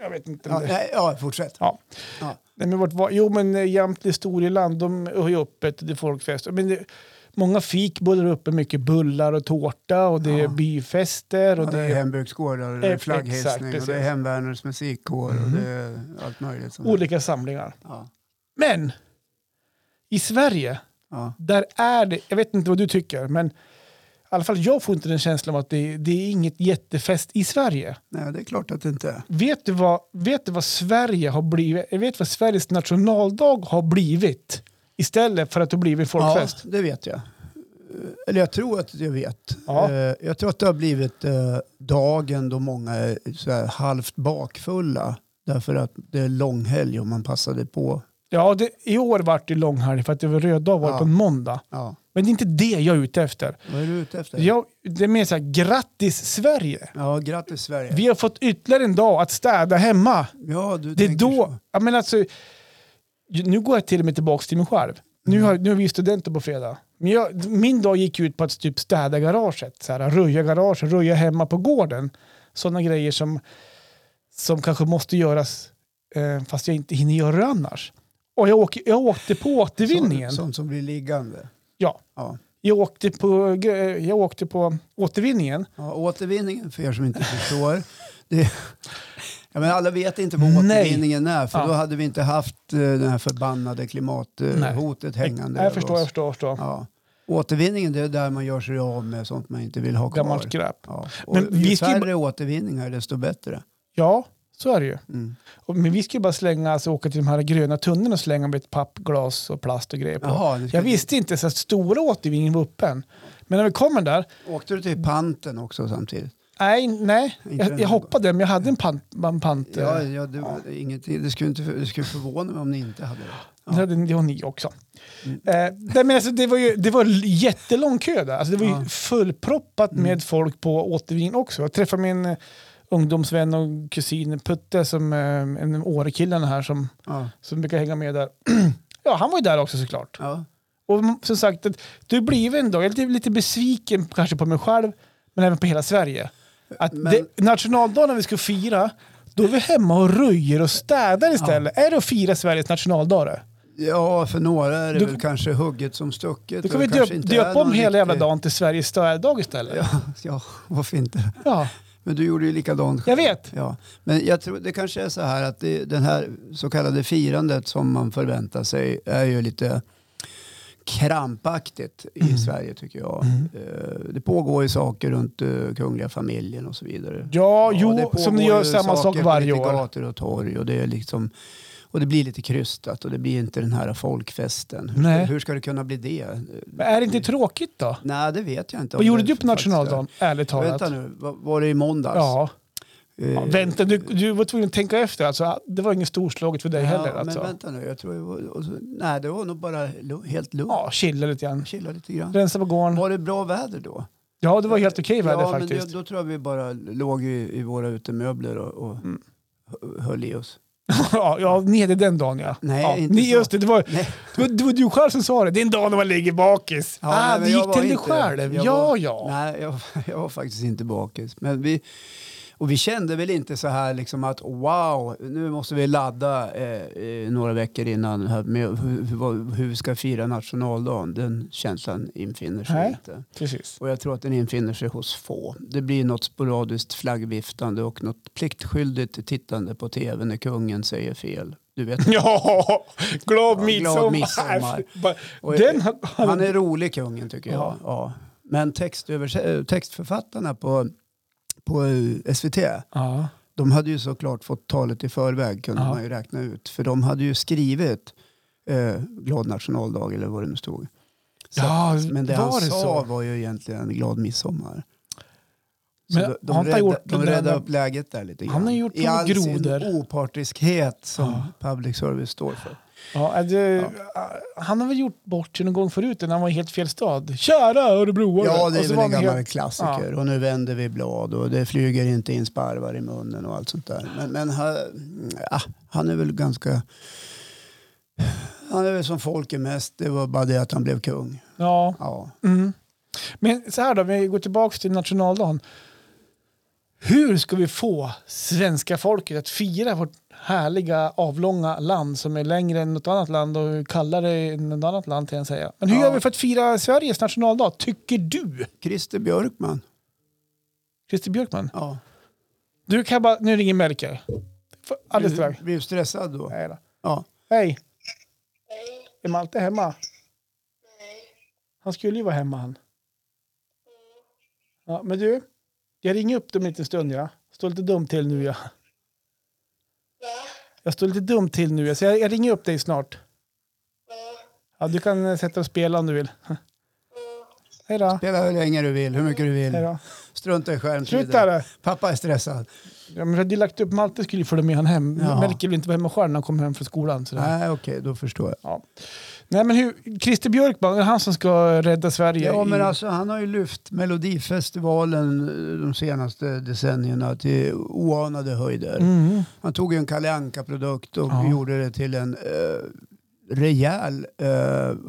[SPEAKER 1] jag vet inte.
[SPEAKER 2] Ja,
[SPEAKER 1] om det-
[SPEAKER 2] nej, ja, fortsätt.
[SPEAKER 1] Ja.
[SPEAKER 2] Ja.
[SPEAKER 1] Nej, men vart var, jo, men eh, Jämtland Historieland, de har ju öppet, det är folkfest. Men det, många fik bullar uppe, mycket bullar och tårta och det är
[SPEAKER 2] Ja.
[SPEAKER 1] byfester. Och
[SPEAKER 2] Ja, det är hembygdsgårdar, och det är
[SPEAKER 1] Ex- exakt,
[SPEAKER 2] flagghissning och
[SPEAKER 1] precis. Mm.
[SPEAKER 2] det är hemvärnets musikkår och det är allt möjligt. som-
[SPEAKER 1] Olika samlingar.
[SPEAKER 2] Ja,
[SPEAKER 1] Men i Sverige,
[SPEAKER 2] ja.
[SPEAKER 1] där är det, jag vet inte vad du tycker, men i alla fall jag får inte den känslan av att det, det är inget jättefest i Sverige.
[SPEAKER 2] Nej, det är klart att det inte är.
[SPEAKER 1] Vet du, vad, vet du vad Sverige har blivit? Vet du vad Sveriges nationaldag har blivit? Istället för att det har blivit folkfest.
[SPEAKER 2] Ja, det vet jag. Eh, Eller jag tror att jag vet.
[SPEAKER 1] Ja.
[SPEAKER 2] Eh, Jag tror att det har blivit eh, dagen då många är så här halvt bakfulla. Därför att det är långhelg och man passade på.
[SPEAKER 1] Ja, det, i år vart det långhelg för att det var röd dag var det
[SPEAKER 2] Ja.
[SPEAKER 1] på en måndag.
[SPEAKER 2] Ja.
[SPEAKER 1] Men det är inte det jag är ute efter.
[SPEAKER 2] Vad är du ute efter?
[SPEAKER 1] Jag, det är mer så här, grattis Sverige!
[SPEAKER 2] Ja, grattis Sverige.
[SPEAKER 1] Vi har fått ytterligare en dag att städa hemma.
[SPEAKER 2] Ja, du
[SPEAKER 1] Det är
[SPEAKER 2] tänker
[SPEAKER 1] då,
[SPEAKER 2] så.
[SPEAKER 1] ja, men alltså, ju- nu går jag till och med tillbaka till mig själv. Nu,
[SPEAKER 2] Mm.
[SPEAKER 1] har, nu är vi studenter på fredag. Men jag, min dag gick ut på att typ städa garaget, så här, röja garaget, röja hemma på gården. Sådana grejer som, som kanske måste göras eh, fast jag inte hinner göra det annars. Och jag, åker, jag åkte på återvinningen.
[SPEAKER 2] Sånt, sånt som blir liggande.
[SPEAKER 1] Ja.
[SPEAKER 2] Ja.
[SPEAKER 1] Jag, åkte på, gre- jag åkte på återvinningen.
[SPEAKER 2] Ja, återvinningen, för er som inte förstår. Det, ja, men alla vet inte vad
[SPEAKER 1] Nej.
[SPEAKER 2] återvinningen är, för
[SPEAKER 1] Ja.
[SPEAKER 2] då hade vi inte haft eh, det här förbannade klimathotet hängande
[SPEAKER 1] Nej,
[SPEAKER 2] över
[SPEAKER 1] jag förstår,
[SPEAKER 2] oss.
[SPEAKER 1] jag förstår. Jag förstår.
[SPEAKER 2] Ja. Återvinningen, det är där man gör sig av med sånt man inte vill ha kvar.
[SPEAKER 1] Gammalt skräp.
[SPEAKER 2] Ja. Och
[SPEAKER 1] Men vi
[SPEAKER 2] ju
[SPEAKER 1] ska ju
[SPEAKER 2] färre återvinningar, desto bättre.
[SPEAKER 1] Ja, så är det ju.
[SPEAKER 2] Mm.
[SPEAKER 1] Och- Men vi skulle bara slänga, alltså åka till de här gröna tunnorna och slänga med ett papp, glas och plast och grejer på.
[SPEAKER 2] Jaha, nu ska
[SPEAKER 1] Jag visste inte så att stora återvinningen var öppen. Men när vi kommer där,
[SPEAKER 2] Åkte du till panten också samtidigt?
[SPEAKER 1] nej, nej.
[SPEAKER 2] Inte den
[SPEAKER 1] Jag,
[SPEAKER 2] här
[SPEAKER 1] jag hoppade, men jag hade en pant. En pant eh,
[SPEAKER 2] Ja, ja, det, var Ingenting, det, skulle inte, det skulle förvåna mig om ni inte hade det.
[SPEAKER 1] Det hade det har ni också.
[SPEAKER 2] Mm.
[SPEAKER 1] Eh, nej, men alltså, det var ju det var l- jättelång kö där. Alltså, det var ju
[SPEAKER 2] Ja.
[SPEAKER 1] fullproppat
[SPEAKER 2] Mm.
[SPEAKER 1] med folk på återvinningen också. Jag träffade min eh, ungdomsvän och kusin Putte, som, eh, en av Årekillarna här som,
[SPEAKER 2] Ja.
[SPEAKER 1] som brukar hänga med där. ja, han var ju där också såklart.
[SPEAKER 2] Ja.
[SPEAKER 1] Och m- som sagt, att du blev ändå jag är lite- lite besviken kanske på mig själv, men även på hela Sverige. Att
[SPEAKER 2] Men-
[SPEAKER 1] det, nationaldagen när vi ska fira, då är vi hemma och röjer och städar istället. Är det att fira Sveriges nationaldag? då?
[SPEAKER 2] Ja, för några är det
[SPEAKER 1] Du-
[SPEAKER 2] väl kanske hugget som stucket.
[SPEAKER 1] Då kan
[SPEAKER 2] och
[SPEAKER 1] vi
[SPEAKER 2] det kanske
[SPEAKER 1] döp,
[SPEAKER 2] inte är
[SPEAKER 1] döpa om
[SPEAKER 2] någon
[SPEAKER 1] hela jävla
[SPEAKER 2] riktig-
[SPEAKER 1] dagen till Sveriges stöddag istället. Ja.
[SPEAKER 2] Ja, ja, varför inte? Men du gjorde ju likadant.
[SPEAKER 1] Jag vet.
[SPEAKER 2] Ja. Men jag tror det kanske är så här att det, den här så kallade firandet som man förväntar sig är ju lite krampaktigt i
[SPEAKER 1] Mm.
[SPEAKER 2] Sverige tycker jag. Eh, Det pågår ju saker runt eh, kungliga familjen och så vidare.
[SPEAKER 1] Ja,
[SPEAKER 2] det
[SPEAKER 1] jo,
[SPEAKER 2] pågår
[SPEAKER 1] som ni gör
[SPEAKER 2] ju
[SPEAKER 1] samma sak
[SPEAKER 2] saker på
[SPEAKER 1] varje
[SPEAKER 2] lite
[SPEAKER 1] år.
[SPEAKER 2] gator och torg och det är liksom och det blir lite krystat och det blir inte den här folkfesten. Hur,
[SPEAKER 1] Nej.
[SPEAKER 2] Ska, hur ska det kunna bli det?
[SPEAKER 1] Men är det inte tråkigt då?
[SPEAKER 2] Nej, det vet jag inte. om
[SPEAKER 1] Vad gjorde
[SPEAKER 2] det
[SPEAKER 1] du på
[SPEAKER 2] faktiskt är.
[SPEAKER 1] nationaldagen, ärligt talat?
[SPEAKER 2] Vänta nu, var, var det i måndags?
[SPEAKER 1] Ja.
[SPEAKER 2] Eh,
[SPEAKER 1] ja, vänta, du, du var tvungen att tänka efter alltså. Det var inget storslaget för dig heller
[SPEAKER 2] Ja, men
[SPEAKER 1] alltså.
[SPEAKER 2] vänta nu, jag tror det var, och så- nej, det var nog bara lu- helt lugnt.
[SPEAKER 1] Ja, chilla lite grann.
[SPEAKER 2] Chilla lite grann.
[SPEAKER 1] Rensa på gården.
[SPEAKER 2] Var det bra väder då?
[SPEAKER 1] Ja, det var helt okej väder
[SPEAKER 2] ja,
[SPEAKER 1] faktiskt.
[SPEAKER 2] Men det, då tror jag vi bara låg i, i våra utemöbler och, och
[SPEAKER 1] Mm.
[SPEAKER 2] hö- höll i oss.
[SPEAKER 1] Ja, ja, ni hade den dagen ja.
[SPEAKER 2] Nej,
[SPEAKER 1] ja.
[SPEAKER 2] inte
[SPEAKER 1] ni,
[SPEAKER 2] så.
[SPEAKER 1] Just det, det var,
[SPEAKER 2] Nej.
[SPEAKER 1] det, var, det var du själv som sa det. Det är en dag när man ligger bakis.
[SPEAKER 2] Ja,
[SPEAKER 1] ah,
[SPEAKER 2] nej, men
[SPEAKER 1] du
[SPEAKER 2] jag
[SPEAKER 1] gick
[SPEAKER 2] var
[SPEAKER 1] till dig
[SPEAKER 2] inte-
[SPEAKER 1] själv.
[SPEAKER 2] jag
[SPEAKER 1] Ja,
[SPEAKER 2] var-
[SPEAKER 1] ja.
[SPEAKER 2] Nej, jag, jag var faktiskt inte bakis. Men vi, och vi kände väl inte så här liksom att wow, nu måste vi ladda eh, eh, några veckor innan här med hur, hur, vad- hur vi ska fira nationaldagen. Den känslan infinner sig
[SPEAKER 1] Nej.
[SPEAKER 2] inte.
[SPEAKER 1] Precis.
[SPEAKER 2] Och jag tror att den infinner sig hos få. Det blir något sporadiskt flaggviftande och något pliktskyldigt tittande på tv när kungen säger fel. Du vet.
[SPEAKER 1] Ja, glad
[SPEAKER 2] glad
[SPEAKER 1] midsommar.
[SPEAKER 2] midsommar.
[SPEAKER 1] Bara-
[SPEAKER 2] Och
[SPEAKER 1] Den har-
[SPEAKER 2] Han är rolig kungen tycker jag.
[SPEAKER 1] Ja.
[SPEAKER 2] Ja. Men textöverse- eh, textförfattarna på, på eh, SVT,
[SPEAKER 1] Ja.
[SPEAKER 2] de hade ju såklart fått talet i förväg kunde
[SPEAKER 1] Ja.
[SPEAKER 2] man ju räkna ut. För de hade ju skrivit eh, glad nationaldag eller vad det nu stod. Så-
[SPEAKER 1] ja,
[SPEAKER 2] Men det
[SPEAKER 1] Mm.
[SPEAKER 2] alltså-
[SPEAKER 1] var
[SPEAKER 2] han
[SPEAKER 1] det
[SPEAKER 2] sa
[SPEAKER 1] så?
[SPEAKER 2] var ju egentligen glad midsommar. Så
[SPEAKER 1] Men
[SPEAKER 2] de-
[SPEAKER 1] har
[SPEAKER 2] de
[SPEAKER 1] inte han
[SPEAKER 2] räddade,
[SPEAKER 1] gjort
[SPEAKER 2] de
[SPEAKER 1] det där
[SPEAKER 2] räddade
[SPEAKER 1] med-
[SPEAKER 2] upp läget där lite grann.
[SPEAKER 1] Han har gjort
[SPEAKER 2] I all
[SPEAKER 1] grodor.
[SPEAKER 2] sin opartiskhet som
[SPEAKER 1] Ja.
[SPEAKER 2] public service står för.
[SPEAKER 1] Ja, är det, Han har väl gjort bort sig någon gång förut när han var i helt fel stad. Kära Örebroare!
[SPEAKER 2] Ja, det
[SPEAKER 1] Och så
[SPEAKER 2] är väl
[SPEAKER 1] var
[SPEAKER 2] en
[SPEAKER 1] han
[SPEAKER 2] gammal
[SPEAKER 1] helt-
[SPEAKER 2] klassiker. Och nu vänder vi blad och det flyger inte in sparvar i munnen och allt sånt där. Men, men han, ja, han är väl ganska... Han är väl som folk är mest. Det var bara det att han blev kung.
[SPEAKER 1] Ja.
[SPEAKER 2] Ja.
[SPEAKER 1] Mm. Men så här då, vi går tillbaka till nationaldagen. Hur ska vi få svenska folket att fira vårt härliga avlånga land som är längre än något annat land och kallare än något annat land kan jag säga. Men hur
[SPEAKER 2] Ja.
[SPEAKER 1] gör vi för att fira Sveriges nationaldag, tycker du?
[SPEAKER 2] Christer Björkman.
[SPEAKER 1] Christer Björkman?
[SPEAKER 2] Ja.
[SPEAKER 1] Du kan bara, nu ringer Melker. Mm. F- Alldeles strax.
[SPEAKER 2] Blev- Blev stressad då.
[SPEAKER 1] Nej då.
[SPEAKER 2] Ja.
[SPEAKER 1] Hej,
[SPEAKER 3] Nej,
[SPEAKER 1] är Malte hemma?
[SPEAKER 3] nej. Mm.
[SPEAKER 1] Han skulle ju vara hemma han. Ja, men du, jag ringer upp dem en liten stund ja. Står lite dum till nu ja.
[SPEAKER 3] Va?
[SPEAKER 1] Jag står lite dum till nu, så jag, jag ringer upp dig snart.
[SPEAKER 3] Ja.
[SPEAKER 1] Ja, du kan eh, sätta dig och spela om du vill. Hej då.
[SPEAKER 2] Spela hur länge du vill, hur mycket du
[SPEAKER 1] Hej
[SPEAKER 2] vill.
[SPEAKER 1] då.
[SPEAKER 2] Strunta i skärmtiden.
[SPEAKER 1] Sluta där.
[SPEAKER 2] Pappa är stressad.
[SPEAKER 1] Ja, men jag hade ju lagt upp Malte skulle ju följa med han hem.
[SPEAKER 2] Jaha.
[SPEAKER 1] Melker vill inte vara hemma själv när han kommer hem från skolan. Så Nej.
[SPEAKER 2] Nej, okej, då förstår jag.
[SPEAKER 1] Nej, men hur, Christer Björkman, det är han som ska rädda Sverige.
[SPEAKER 2] Ja,
[SPEAKER 1] i-
[SPEAKER 2] men alltså, han har ju lyft Melodifestivalen eh, de senaste decennierna till oanade höjder.
[SPEAKER 1] Mm.
[SPEAKER 2] Han tog ju en Kalle Anka-produkt och
[SPEAKER 1] Ja.
[SPEAKER 2] gjorde det till en eh, rejäl, eh,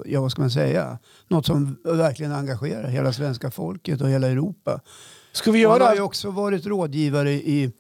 [SPEAKER 2] ja vad ska man säga, något som verkligen engagerar hela svenska folket och hela Europa.
[SPEAKER 1] Ska vi
[SPEAKER 2] Och Han
[SPEAKER 1] göra...
[SPEAKER 2] har ju också varit rådgivare i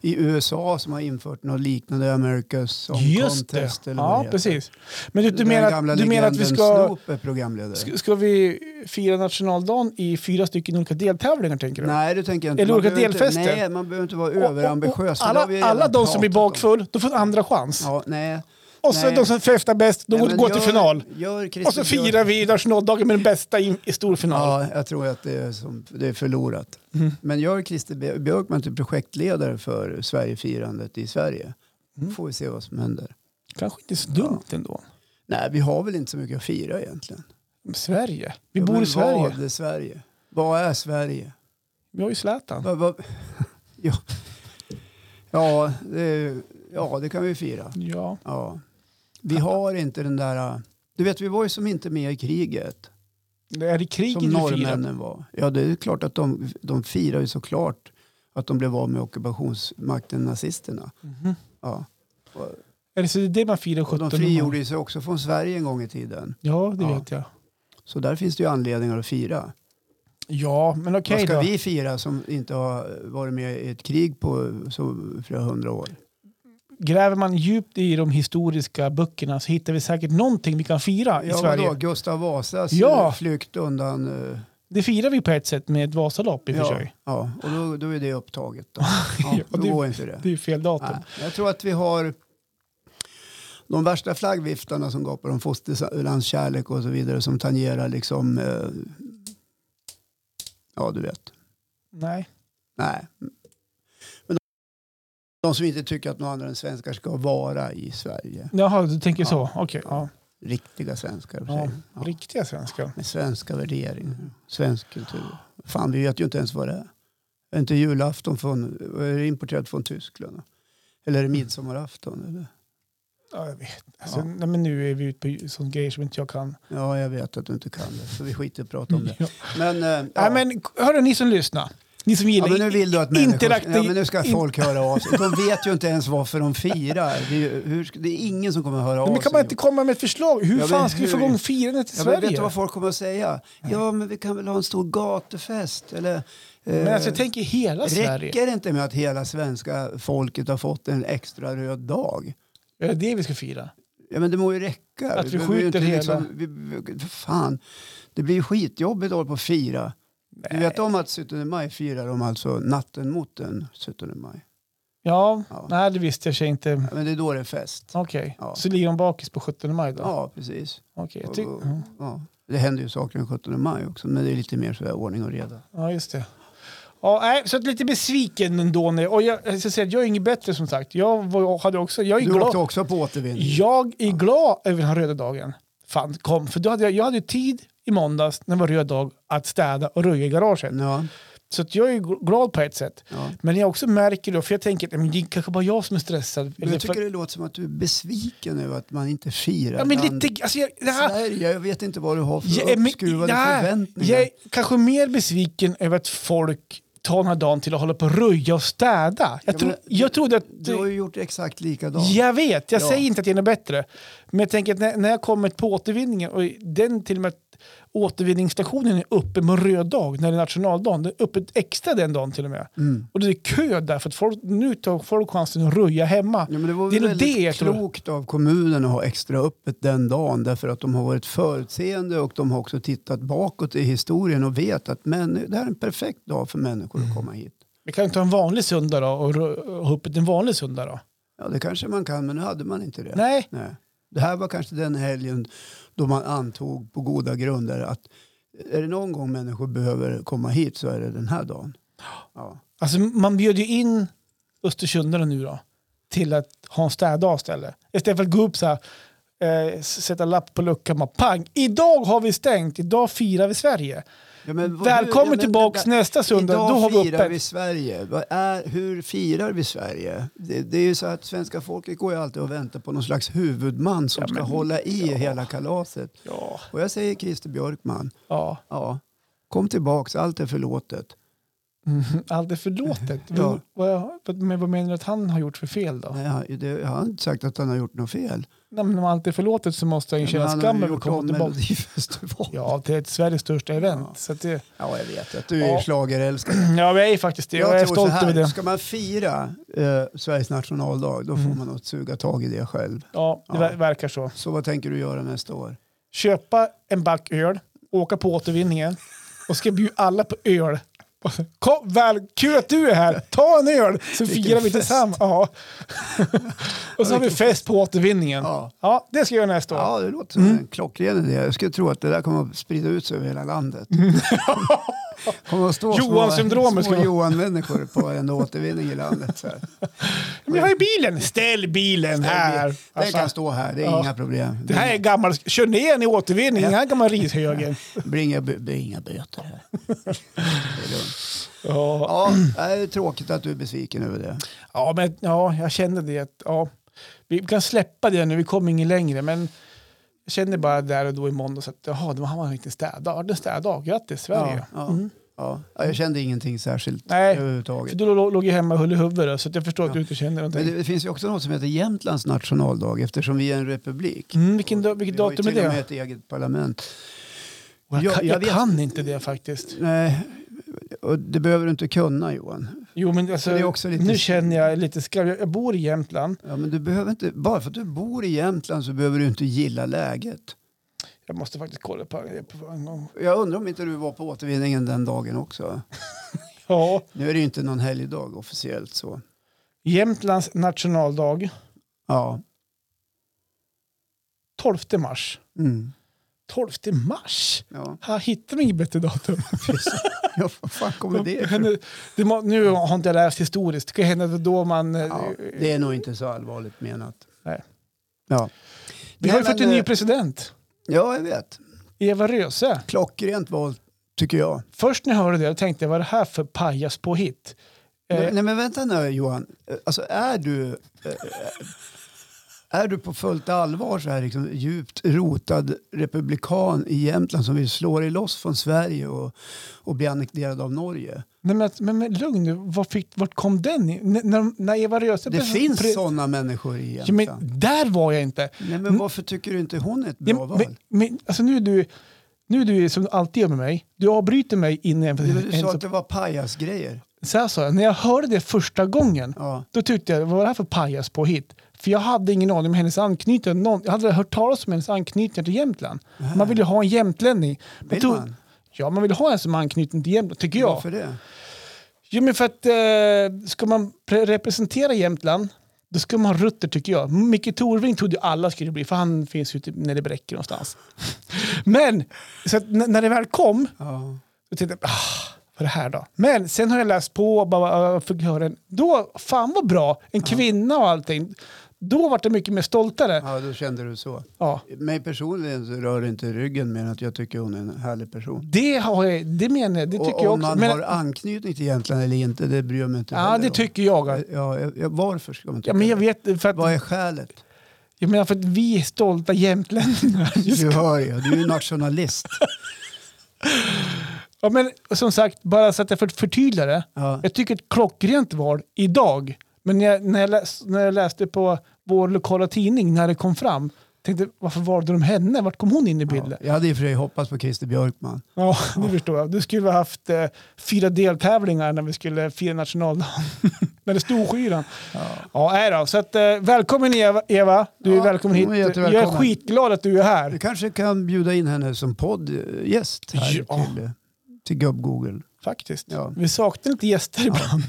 [SPEAKER 2] i USA som har infört något liknande America's Song
[SPEAKER 1] Just det.
[SPEAKER 2] Contest. Eller vad
[SPEAKER 1] Ja,
[SPEAKER 2] heter.
[SPEAKER 1] precis. Men du, du,
[SPEAKER 2] Den
[SPEAKER 1] menar,
[SPEAKER 2] gamla
[SPEAKER 1] att- du menar att vi
[SPEAKER 2] legenden
[SPEAKER 1] ska,
[SPEAKER 2] Snoop är programledare.
[SPEAKER 1] ska, ska vi fira nationaldagen i fyra stycken olika deltävlingar tänker du?
[SPEAKER 2] Nej, det tänker jag inte.
[SPEAKER 1] Eller
[SPEAKER 2] Man
[SPEAKER 1] olika
[SPEAKER 2] behöver inte-
[SPEAKER 1] delfester.
[SPEAKER 2] Nej, man behöver inte vara
[SPEAKER 1] Och- och- och
[SPEAKER 2] överambitiös. för det har
[SPEAKER 1] Alla,
[SPEAKER 2] vi redan
[SPEAKER 1] alla de som blir
[SPEAKER 2] pratat om.
[SPEAKER 1] bakfull, de får en andra chans.
[SPEAKER 2] Ja, nej.
[SPEAKER 1] och så
[SPEAKER 2] nej.
[SPEAKER 1] de som festar bäst, de
[SPEAKER 2] Nej,
[SPEAKER 1] går
[SPEAKER 2] men
[SPEAKER 1] går till
[SPEAKER 2] gör-
[SPEAKER 1] final.
[SPEAKER 2] Gör Christer
[SPEAKER 1] Och så
[SPEAKER 2] Björk-
[SPEAKER 1] firar vi nationaldagen med den bästa i, i stor final. Mm.
[SPEAKER 2] Ja, jag tror att det är, som, det är förlorat. Men jag och Christer Björ- Björkman till projektledare för Sverigefirandet i Sverige.
[SPEAKER 1] Mm.
[SPEAKER 2] Får vi se vad som händer.
[SPEAKER 1] Kanske inte så dumt ändå.
[SPEAKER 2] Nej, vi har väl inte så mycket att fira egentligen.
[SPEAKER 1] Men Sverige. Vi
[SPEAKER 2] Ja,
[SPEAKER 1] bor
[SPEAKER 2] men
[SPEAKER 1] i Sverige.
[SPEAKER 2] Vad är Sverige? Vad är Sverige?
[SPEAKER 1] Vi har ju Zlatan.
[SPEAKER 2] Vad, vad, ja. Ja, det, ja, det kan vi fira.
[SPEAKER 1] Ja.
[SPEAKER 2] Ja. Vi har inte den där... äh, Du vet, vi var ju som inte med i kriget.
[SPEAKER 1] Det är i kriget
[SPEAKER 2] Som
[SPEAKER 1] vi firar.
[SPEAKER 2] norrmännen var. Ja, det är klart att de, de firar ju såklart att de blev av med ockupationsmakten nazisterna.
[SPEAKER 1] Mhm.
[SPEAKER 2] Ja. Och,
[SPEAKER 1] Eller så är det det man firar
[SPEAKER 2] och de
[SPEAKER 1] 17
[SPEAKER 2] frigjorde ju sig också från Sverige en gång i tiden.
[SPEAKER 1] Ja, det
[SPEAKER 2] Ja.
[SPEAKER 1] vet jag.
[SPEAKER 2] Så där finns det ju anledningar att fira.
[SPEAKER 1] Ja, men okej
[SPEAKER 2] Vad ska
[SPEAKER 1] då.
[SPEAKER 2] vi fira som inte har varit med i ett krig på så, flera hundra år?
[SPEAKER 1] Gräver man djupt i de historiska böckerna så hittar vi säkert någonting vi kan fira i
[SPEAKER 2] Ja,
[SPEAKER 1] Sverige.
[SPEAKER 2] vadå? Gustav Vasas
[SPEAKER 1] Ja.
[SPEAKER 2] eh, flykt undan... eh,
[SPEAKER 1] Det firar vi på ett sätt med ett Vasalopp i och för
[SPEAKER 2] Ja,
[SPEAKER 1] sig.
[SPEAKER 2] ja, och då, då är det upptaget. Då,
[SPEAKER 1] Ja,
[SPEAKER 2] ja, då
[SPEAKER 1] det-
[SPEAKER 2] går inte det.
[SPEAKER 1] Det är ju fel datum.
[SPEAKER 2] Nej, jag tror att vi har de värsta flaggviftarna som gapar om fosterlandskärlek och så vidare som tangerar liksom, eh, ja du vet,
[SPEAKER 1] Nej.
[SPEAKER 2] nej. Men de, de som inte tycker att några andra än svenskar ska vara i Sverige,
[SPEAKER 1] Jaha, du tänker
[SPEAKER 2] Ja.
[SPEAKER 1] så. Okej. ja.
[SPEAKER 2] riktiga svenskar,
[SPEAKER 1] Ja,
[SPEAKER 2] säger de. ja.
[SPEAKER 1] Riktiga svenskar.
[SPEAKER 2] med svenska värderingar, svensk kultur. Fan, vi vet ju inte ens vad det är. Är inte julafton från, är det importerat från Tyskland? Eller är det midsommarafton? Eller?
[SPEAKER 1] Ja, jag vet. Alltså,
[SPEAKER 2] Ja.
[SPEAKER 1] nej, men nu är vi ute på sån grejer som inte jag kan.
[SPEAKER 2] Ja, jag vet att du inte kan det, så vi skiter i att prata om det.
[SPEAKER 1] Ja.
[SPEAKER 2] Men, eh,
[SPEAKER 1] Nej,
[SPEAKER 2] ja.
[SPEAKER 1] men hörru, ni som lyssnar. Ni som
[SPEAKER 2] ja,
[SPEAKER 1] gillar
[SPEAKER 2] men nu vill du att människor...
[SPEAKER 1] interaktiv-
[SPEAKER 2] Ja, men nu ska folk höra av sig. De vet ju inte ens varför de firar. Det är, ju- hur, det är ingen som kommer att höra
[SPEAKER 1] Nej,
[SPEAKER 2] av
[SPEAKER 1] men
[SPEAKER 2] sig.
[SPEAKER 1] kan man inte komma med ett förslag? Hur
[SPEAKER 2] Ja, men
[SPEAKER 1] fan ska vi få
[SPEAKER 2] hur-
[SPEAKER 1] igång firandet i
[SPEAKER 2] ja, men
[SPEAKER 1] Sverige?
[SPEAKER 2] vet du vad folk kommer att säga? Ja, men vi kan väl ha en stor gatufest? Eller, eh,
[SPEAKER 1] men alltså, jag tänker hela Sverige.
[SPEAKER 2] räcker det inte med att hela svenska folket har fått en extra röd dag?
[SPEAKER 1] Är det det vi ska fira?
[SPEAKER 2] Ja, men det må ju räcka.
[SPEAKER 1] Att vi
[SPEAKER 2] behöver ju
[SPEAKER 1] skjuter
[SPEAKER 2] inte
[SPEAKER 1] hela-
[SPEAKER 2] vi, vi, för fan, det blir ju skitjobbigt att hålla på och fira. Du vet om att 17 maj firar de alltså natten mot den 17 maj?
[SPEAKER 1] Ja,
[SPEAKER 2] Ja.
[SPEAKER 1] nej det visste jag sig inte.
[SPEAKER 2] Ja, men det är då det är fest.
[SPEAKER 1] Okej,
[SPEAKER 2] Ja.
[SPEAKER 1] så ligger de bakis på 17 maj då?
[SPEAKER 2] Ja, precis.
[SPEAKER 1] Okej, jag
[SPEAKER 2] Och-
[SPEAKER 1] ty-
[SPEAKER 2] och-
[SPEAKER 1] ja.
[SPEAKER 2] Ja. Det händer ju saker den 17 maj också, men det är lite mer sådär ordning och reda.
[SPEAKER 1] ja, just det. Ja, nej, så att lite besviken ändå. nu. Och jag, jag, ska säga, att jag är inget bättre som sagt. Jag, var, hade också, jag är
[SPEAKER 2] Du
[SPEAKER 1] glad.
[SPEAKER 2] åkte också på återvinning.
[SPEAKER 1] Jag är glad över den här röda dagen. Fan, kom. För då hade jag, jag hade ju tid i måndags när det var röd dag att städa och röja i garaget.
[SPEAKER 2] Ja,
[SPEAKER 1] Så att jag är gl- glad på ett sätt.
[SPEAKER 2] ja.
[SPEAKER 1] Men jag också märker då, för jag tänker att nej, men det är kanske bara jag som är stressad.
[SPEAKER 2] Men
[SPEAKER 1] Eller
[SPEAKER 2] jag
[SPEAKER 1] för,
[SPEAKER 2] tycker det låter som att du är besviken över att man inte firar
[SPEAKER 1] ja, men
[SPEAKER 2] land-
[SPEAKER 1] lite, alltså, jag, det här,
[SPEAKER 2] Sverige. Jag vet inte vad du har för
[SPEAKER 1] jag, är- men-
[SPEAKER 2] uppskruvade
[SPEAKER 1] nej,
[SPEAKER 2] förväntningar.
[SPEAKER 1] jag är kanske mer besviken över att folk tar den här dagen till att hålla på och röja och städa. Jag,
[SPEAKER 2] Ja,
[SPEAKER 1] tro,
[SPEAKER 2] men-
[SPEAKER 1] jag trodde att...
[SPEAKER 2] Du har ju gjort exakt likadant.
[SPEAKER 1] Jag vet, jag
[SPEAKER 2] Ja.
[SPEAKER 1] säger inte att jag är något bättre. Men jag tänker att när, när jag kommer på återvinningen och den till och med att återvinningsstationen är uppe med röd dag när det är nationaldagen. Det är öppet extra den dagen till och med.
[SPEAKER 2] Mm.
[SPEAKER 1] Och det är kö där för att folk, nu tar folk chansen att röja hemma.
[SPEAKER 2] Ja, men det var
[SPEAKER 1] Det är
[SPEAKER 2] väl
[SPEAKER 1] nog
[SPEAKER 2] väldigt
[SPEAKER 1] det jag tror.
[SPEAKER 2] klokt av kommunen att ha extra öppet den dagen därför att de har varit förutseende och de har också tittat bakåt i historien och vet att män, det här är en perfekt dag för människor
[SPEAKER 1] Mm.
[SPEAKER 2] att komma hit.
[SPEAKER 1] Vi kan ju ta en vanlig söndag då och rö- och ha öppet en vanlig söndag då.
[SPEAKER 2] Ja, det kanske man kan, men nu hade man inte det.
[SPEAKER 1] Nej,
[SPEAKER 2] Nej. Det här var kanske den helgen då man antog på goda grunder att är det någon gång människor behöver komma hit så är det den här dagen. Ja.
[SPEAKER 1] alltså man bjöd ju in östersundarna nu då till att ha en städdag istället. Istället för att gå upp så här, eh, s- sätta lapp på luckan bara pang, idag har vi stängt, idag firar vi Sverige.
[SPEAKER 2] Ja, men vad- ja,
[SPEAKER 1] Välkommen
[SPEAKER 2] men-
[SPEAKER 1] tillbaka nästa söndag,
[SPEAKER 2] Idag
[SPEAKER 1] då har vi
[SPEAKER 2] firar
[SPEAKER 1] öppet.
[SPEAKER 2] vi Sverige. Vad är, hur firar vi Sverige? Det, det är ju så att svenska folket går ju alltid och väntar på någon slags huvudman som
[SPEAKER 1] Ja, men-
[SPEAKER 2] ska hålla i
[SPEAKER 1] ja.
[SPEAKER 2] hela kalaset.
[SPEAKER 1] Ja,
[SPEAKER 2] Och jag säger Christer Björkman,
[SPEAKER 1] ja.
[SPEAKER 2] ja, kom tillbaks, allt är förlåtet.
[SPEAKER 1] Mhm. Allt är förlåtet.
[SPEAKER 2] Ja.
[SPEAKER 1] Vad, vad, men vad menar du att han har gjort för fel då? Nej.
[SPEAKER 2] Nej, han- det- jag har inte sagt att han har gjort något fel.
[SPEAKER 1] men om allt är förlåtet så måste han ju
[SPEAKER 2] Men
[SPEAKER 1] känna
[SPEAKER 2] han
[SPEAKER 1] skam
[SPEAKER 2] har ju
[SPEAKER 1] över att
[SPEAKER 2] gjort
[SPEAKER 1] komma
[SPEAKER 2] om
[SPEAKER 1] tillbaka.
[SPEAKER 2] Melodifestivalen. Ja.
[SPEAKER 1] Ja, till ett Sveriges största event.
[SPEAKER 2] Ja.
[SPEAKER 1] Så att det,
[SPEAKER 2] ja, jag vet att du är
[SPEAKER 1] Ja.
[SPEAKER 2] ja. schlagerälskare.
[SPEAKER 1] ja, jag är faktiskt det. Jag, jag är
[SPEAKER 2] tror så
[SPEAKER 1] stolt
[SPEAKER 2] här,
[SPEAKER 1] över det.
[SPEAKER 2] Ska man fira eh, Sveriges nationaldag, då får
[SPEAKER 1] Mm.
[SPEAKER 2] man nog suga tag i det själv.
[SPEAKER 1] Ja, det
[SPEAKER 2] Ja.
[SPEAKER 1] ver- verkar så.
[SPEAKER 2] Så vad tänker du göra nästa år?
[SPEAKER 1] Köpa en back öl, åka på återvinningen och ska bjuda alla på öl. Kom, väl, kul att du är här! Ta en öl så
[SPEAKER 2] Vilken
[SPEAKER 1] firar vi
[SPEAKER 2] fest.
[SPEAKER 1] tillsammans. Ja. och så har vi fest på återvinningen. Ja.
[SPEAKER 2] Ja,
[SPEAKER 1] det ska jag göra nästa år.
[SPEAKER 2] ja det låter som
[SPEAKER 1] Mm.
[SPEAKER 2] en klockren idé. Jag skulle tro att det där kommer att sprida ut sig över hela landet. kommer att stå
[SPEAKER 1] Mm. Johan-syndromet skulle
[SPEAKER 2] små, små
[SPEAKER 1] vara-
[SPEAKER 2] Johan-människor på en återvinning i landet. Så här.
[SPEAKER 1] Men jag har ju bilen! Ställ bilen här!
[SPEAKER 2] Den
[SPEAKER 1] Alltså,
[SPEAKER 2] kan stå här, det är
[SPEAKER 1] Ja.
[SPEAKER 2] inga problem.
[SPEAKER 1] det här är gammal... Kör ner den i återvinningen, den här gamla rishögen.
[SPEAKER 2] Det blir inga, bö- det blir inga böter här. Det är lugnt.
[SPEAKER 1] Ja.
[SPEAKER 2] Ja, det är tråkigt att du är besviken över det.
[SPEAKER 1] Ja, men, ja, jag kände det. att, Ja, vi kan släppa det nu, vi kommer ingen längre. Men jag kände bara där och då i måndags att jaha, det var- han var en riktig städdag. Ja, Det är en städdag, grattis Sverige. Mm.
[SPEAKER 2] Ja, ja, ja. Ja, jag kände ingenting särskilt
[SPEAKER 1] Nej,
[SPEAKER 2] överhuvudtaget.
[SPEAKER 1] För du lå- låg ju hemma och höll i huvudet då, så att jag förstår att
[SPEAKER 2] Ja.
[SPEAKER 1] du inte känner
[SPEAKER 2] Men
[SPEAKER 1] någonting.
[SPEAKER 2] det, det finns ju också något som heter Jämtlands nationaldag eftersom vi är en republik.
[SPEAKER 1] Mm, vilken, da- vilket
[SPEAKER 2] vi har ju
[SPEAKER 1] datum är
[SPEAKER 2] till och med
[SPEAKER 1] det?
[SPEAKER 2] ett eget parlament.
[SPEAKER 1] Och Jag,
[SPEAKER 2] Ja,
[SPEAKER 1] kan,
[SPEAKER 2] jag
[SPEAKER 1] jag
[SPEAKER 2] vet-
[SPEAKER 1] kan inte det faktiskt.
[SPEAKER 2] Nej, och det behöver du inte kunna Johan.
[SPEAKER 1] Jo, men alltså,
[SPEAKER 2] Det är också lite-
[SPEAKER 1] nu känner jag lite skarv. Jag, jag bor i Jämtland.
[SPEAKER 2] Ja, men du behöver inte, bara för att du bor i Jämtland så behöver du inte gilla läget.
[SPEAKER 1] Jag måste faktiskt kolla på det på en gång.
[SPEAKER 2] Jag undrar om inte du var på återvinningen den dagen också.
[SPEAKER 1] Ja,
[SPEAKER 2] Nu är det ju inte någon helgdag officiellt så.
[SPEAKER 1] Jämtlands nationaldag,
[SPEAKER 2] Ja.
[SPEAKER 1] 12 mars.
[SPEAKER 2] Mm.
[SPEAKER 1] 12 mars?
[SPEAKER 2] Ja,
[SPEAKER 1] Jag hittar inget bättre datum.
[SPEAKER 2] ja vad fan kommer det
[SPEAKER 1] Det
[SPEAKER 2] ifrån?
[SPEAKER 1] hände- det må, nu har inte jag läst historiskt. Det kan hända att då man... eh,
[SPEAKER 2] Ja, det är nog inte så allvarligt menat.
[SPEAKER 1] Nej.
[SPEAKER 2] Ja.
[SPEAKER 1] vi har ju
[SPEAKER 2] Nej,
[SPEAKER 1] fått
[SPEAKER 2] men,
[SPEAKER 1] en ny
[SPEAKER 2] eh,
[SPEAKER 1] president.
[SPEAKER 2] Ja, jag vet.
[SPEAKER 1] Eva Röse.
[SPEAKER 2] Klockrent val, tycker jag.
[SPEAKER 1] Först när jag hörde det tänkte jag vad är det här för pajas på hit? Eh,
[SPEAKER 2] Nej, men vänta nu Johan. Eh, Alltså är du... eh, Är du på fullt allvar så här liksom, djupt rotad republikan i Jämtland som vill slå dig loss från Sverige och, och bli annekterad av Norge?
[SPEAKER 1] nej, men, men, men lugn nu, var fick, vart kom den? i- N- när, när Eva Röse...
[SPEAKER 2] Det
[SPEAKER 1] blev-
[SPEAKER 2] finns
[SPEAKER 1] pre-
[SPEAKER 2] sådana människor i
[SPEAKER 1] Ja,
[SPEAKER 2] Jämtland.
[SPEAKER 1] men där var jag inte.
[SPEAKER 2] Nej, men varför tycker du inte hon är ett bra
[SPEAKER 1] Ja,
[SPEAKER 2] val?
[SPEAKER 1] men, men, alltså, nu är du... Nu är du som du alltid gör med mig. Du avbryter mig innan jag...
[SPEAKER 2] Du, du sa
[SPEAKER 1] ens-
[SPEAKER 2] att det var pajasgrejer.
[SPEAKER 1] Så här sa jag, när jag hörde det första gången
[SPEAKER 2] Ja.
[SPEAKER 1] Då tyckte jag, vad var det här för pajas på hit? För jag hade ingen aning om hennes anknytning. Någon, jag hade hört talas om hennes anknytning till Jämtland. Man vill ju ha en jämtlänning. Man
[SPEAKER 2] Vill
[SPEAKER 1] tog-
[SPEAKER 2] man?
[SPEAKER 1] Ja, man vill ha en som har anknytning till Jämtland, tycker jag.
[SPEAKER 2] Varför det?
[SPEAKER 1] Jo, men för att eh, ska man pre- representera Jämtland, då ska man ha rutter tycker jag. Micke Torving trodde ju alla skulle bli, för han finns ju typ nere i Bräcke någonstans. men, så att, n- när det väl kom,
[SPEAKER 2] Ja.
[SPEAKER 1] då tänkte jag, ah, vad är det här då? Men sen har jag läst på och bara, ah, fick höra en, då, fan vad bra, en kvinna och allting. Då var det mycket mer stoltare.
[SPEAKER 2] ja, då kände du så.
[SPEAKER 1] Ja.
[SPEAKER 2] Mig personligen så rör det inte ryggen mer än att jag tycker hon är en härlig person.
[SPEAKER 1] Det, har jag, det menar jag, det tycker
[SPEAKER 2] och
[SPEAKER 1] jag
[SPEAKER 2] om
[SPEAKER 1] också.
[SPEAKER 2] man
[SPEAKER 1] Men,
[SPEAKER 2] har anknytning till Jämtland eller inte, det bryr jag mig inte
[SPEAKER 1] ja,
[SPEAKER 2] heller
[SPEAKER 1] det
[SPEAKER 2] om.
[SPEAKER 1] tycker jag.
[SPEAKER 2] Ja, jag, jag, varför ska man
[SPEAKER 1] Ja,
[SPEAKER 2] tycka
[SPEAKER 1] men jag
[SPEAKER 2] det?
[SPEAKER 1] vet, för
[SPEAKER 2] Vad
[SPEAKER 1] att,
[SPEAKER 2] är skälet?
[SPEAKER 1] jag menar för att vi är stolta jämtlänningar. Just-
[SPEAKER 2] Du hör ju, du är ju nationalist.
[SPEAKER 1] Ja, men som sagt, bara så att jag för- förtydligar det.
[SPEAKER 2] Ja.
[SPEAKER 1] Jag tycker ett klockrent val idag. Men när jag, när, jag läs, när jag läste på vår lokala tidning när det kom fram, tänkte varför valde de henne? Vart kom hon in i bilden?
[SPEAKER 2] Ja, jag hade i och för sig hoppats på Christer Björkman.
[SPEAKER 1] Ja, det förstår jag. Du skulle ha haft eh, fyra deltävlingar när vi skulle fira nationaldagen. när det stod skyran. Ja, nej då. Så att, eh, välkommen Eva. Eva. Du är
[SPEAKER 2] Ja,
[SPEAKER 1] välkommen hit.
[SPEAKER 2] hon är
[SPEAKER 1] Jag
[SPEAKER 2] jättevälkommen.
[SPEAKER 1] är skitglad att du är
[SPEAKER 2] Du
[SPEAKER 1] här.
[SPEAKER 2] kanske kan bjuda in henne som poddgäst här
[SPEAKER 1] Ja.
[SPEAKER 2] till, eh, till Gubb-Google.
[SPEAKER 1] Faktiskt.
[SPEAKER 2] Ja.
[SPEAKER 1] Vi saknar lite gäster ibland.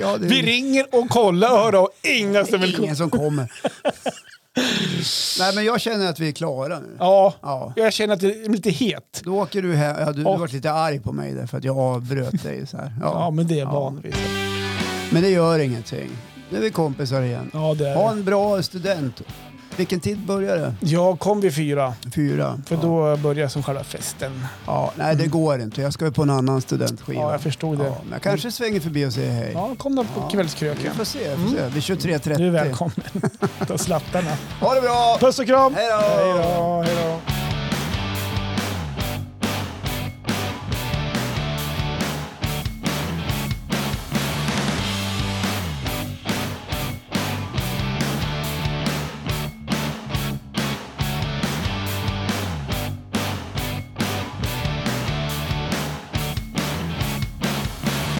[SPEAKER 2] Ja, det
[SPEAKER 1] Vi ringer och kollar och hör av. Inga som vill komma.
[SPEAKER 2] ingen som kommer. Nej, men jag känner att vi är klara nu.
[SPEAKER 1] Ja,
[SPEAKER 2] Ja.
[SPEAKER 1] jag känner att det är lite het.
[SPEAKER 2] Då åker du hem. Ja, du,
[SPEAKER 1] Och-
[SPEAKER 2] du varit lite arg på mig där för att jag avbröt dig. Så här. Ja.
[SPEAKER 1] Ja, men det är
[SPEAKER 2] Ja.
[SPEAKER 1] vanligt.
[SPEAKER 2] Men det gör ingenting. Nu är vi kompisar igen.
[SPEAKER 1] Ja, det
[SPEAKER 2] Ha
[SPEAKER 1] är det.
[SPEAKER 2] en bra student. Vilken tid börjar det?
[SPEAKER 1] Ja, kom vid fyra.
[SPEAKER 2] Fyra?
[SPEAKER 1] För
[SPEAKER 2] ja.
[SPEAKER 1] då börjar som själva festen.
[SPEAKER 2] Ja, nej, det går inte. Jag ska ju på en annan studentskiva.
[SPEAKER 1] Mm. Ja, jag förstod det. Mm.
[SPEAKER 2] Ja, men jag kanske svänger förbi och säger hej.
[SPEAKER 1] Ja, kom då på
[SPEAKER 2] Vi
[SPEAKER 1] kvällskröken.
[SPEAKER 2] får se. Vi får se. Vid
[SPEAKER 1] Du är
[SPEAKER 2] 23.30.
[SPEAKER 1] välkommen. Ta slattarna.
[SPEAKER 2] Ha det bra!
[SPEAKER 1] Puss och kram!
[SPEAKER 2] Hej då!
[SPEAKER 1] Hej då! Hej då!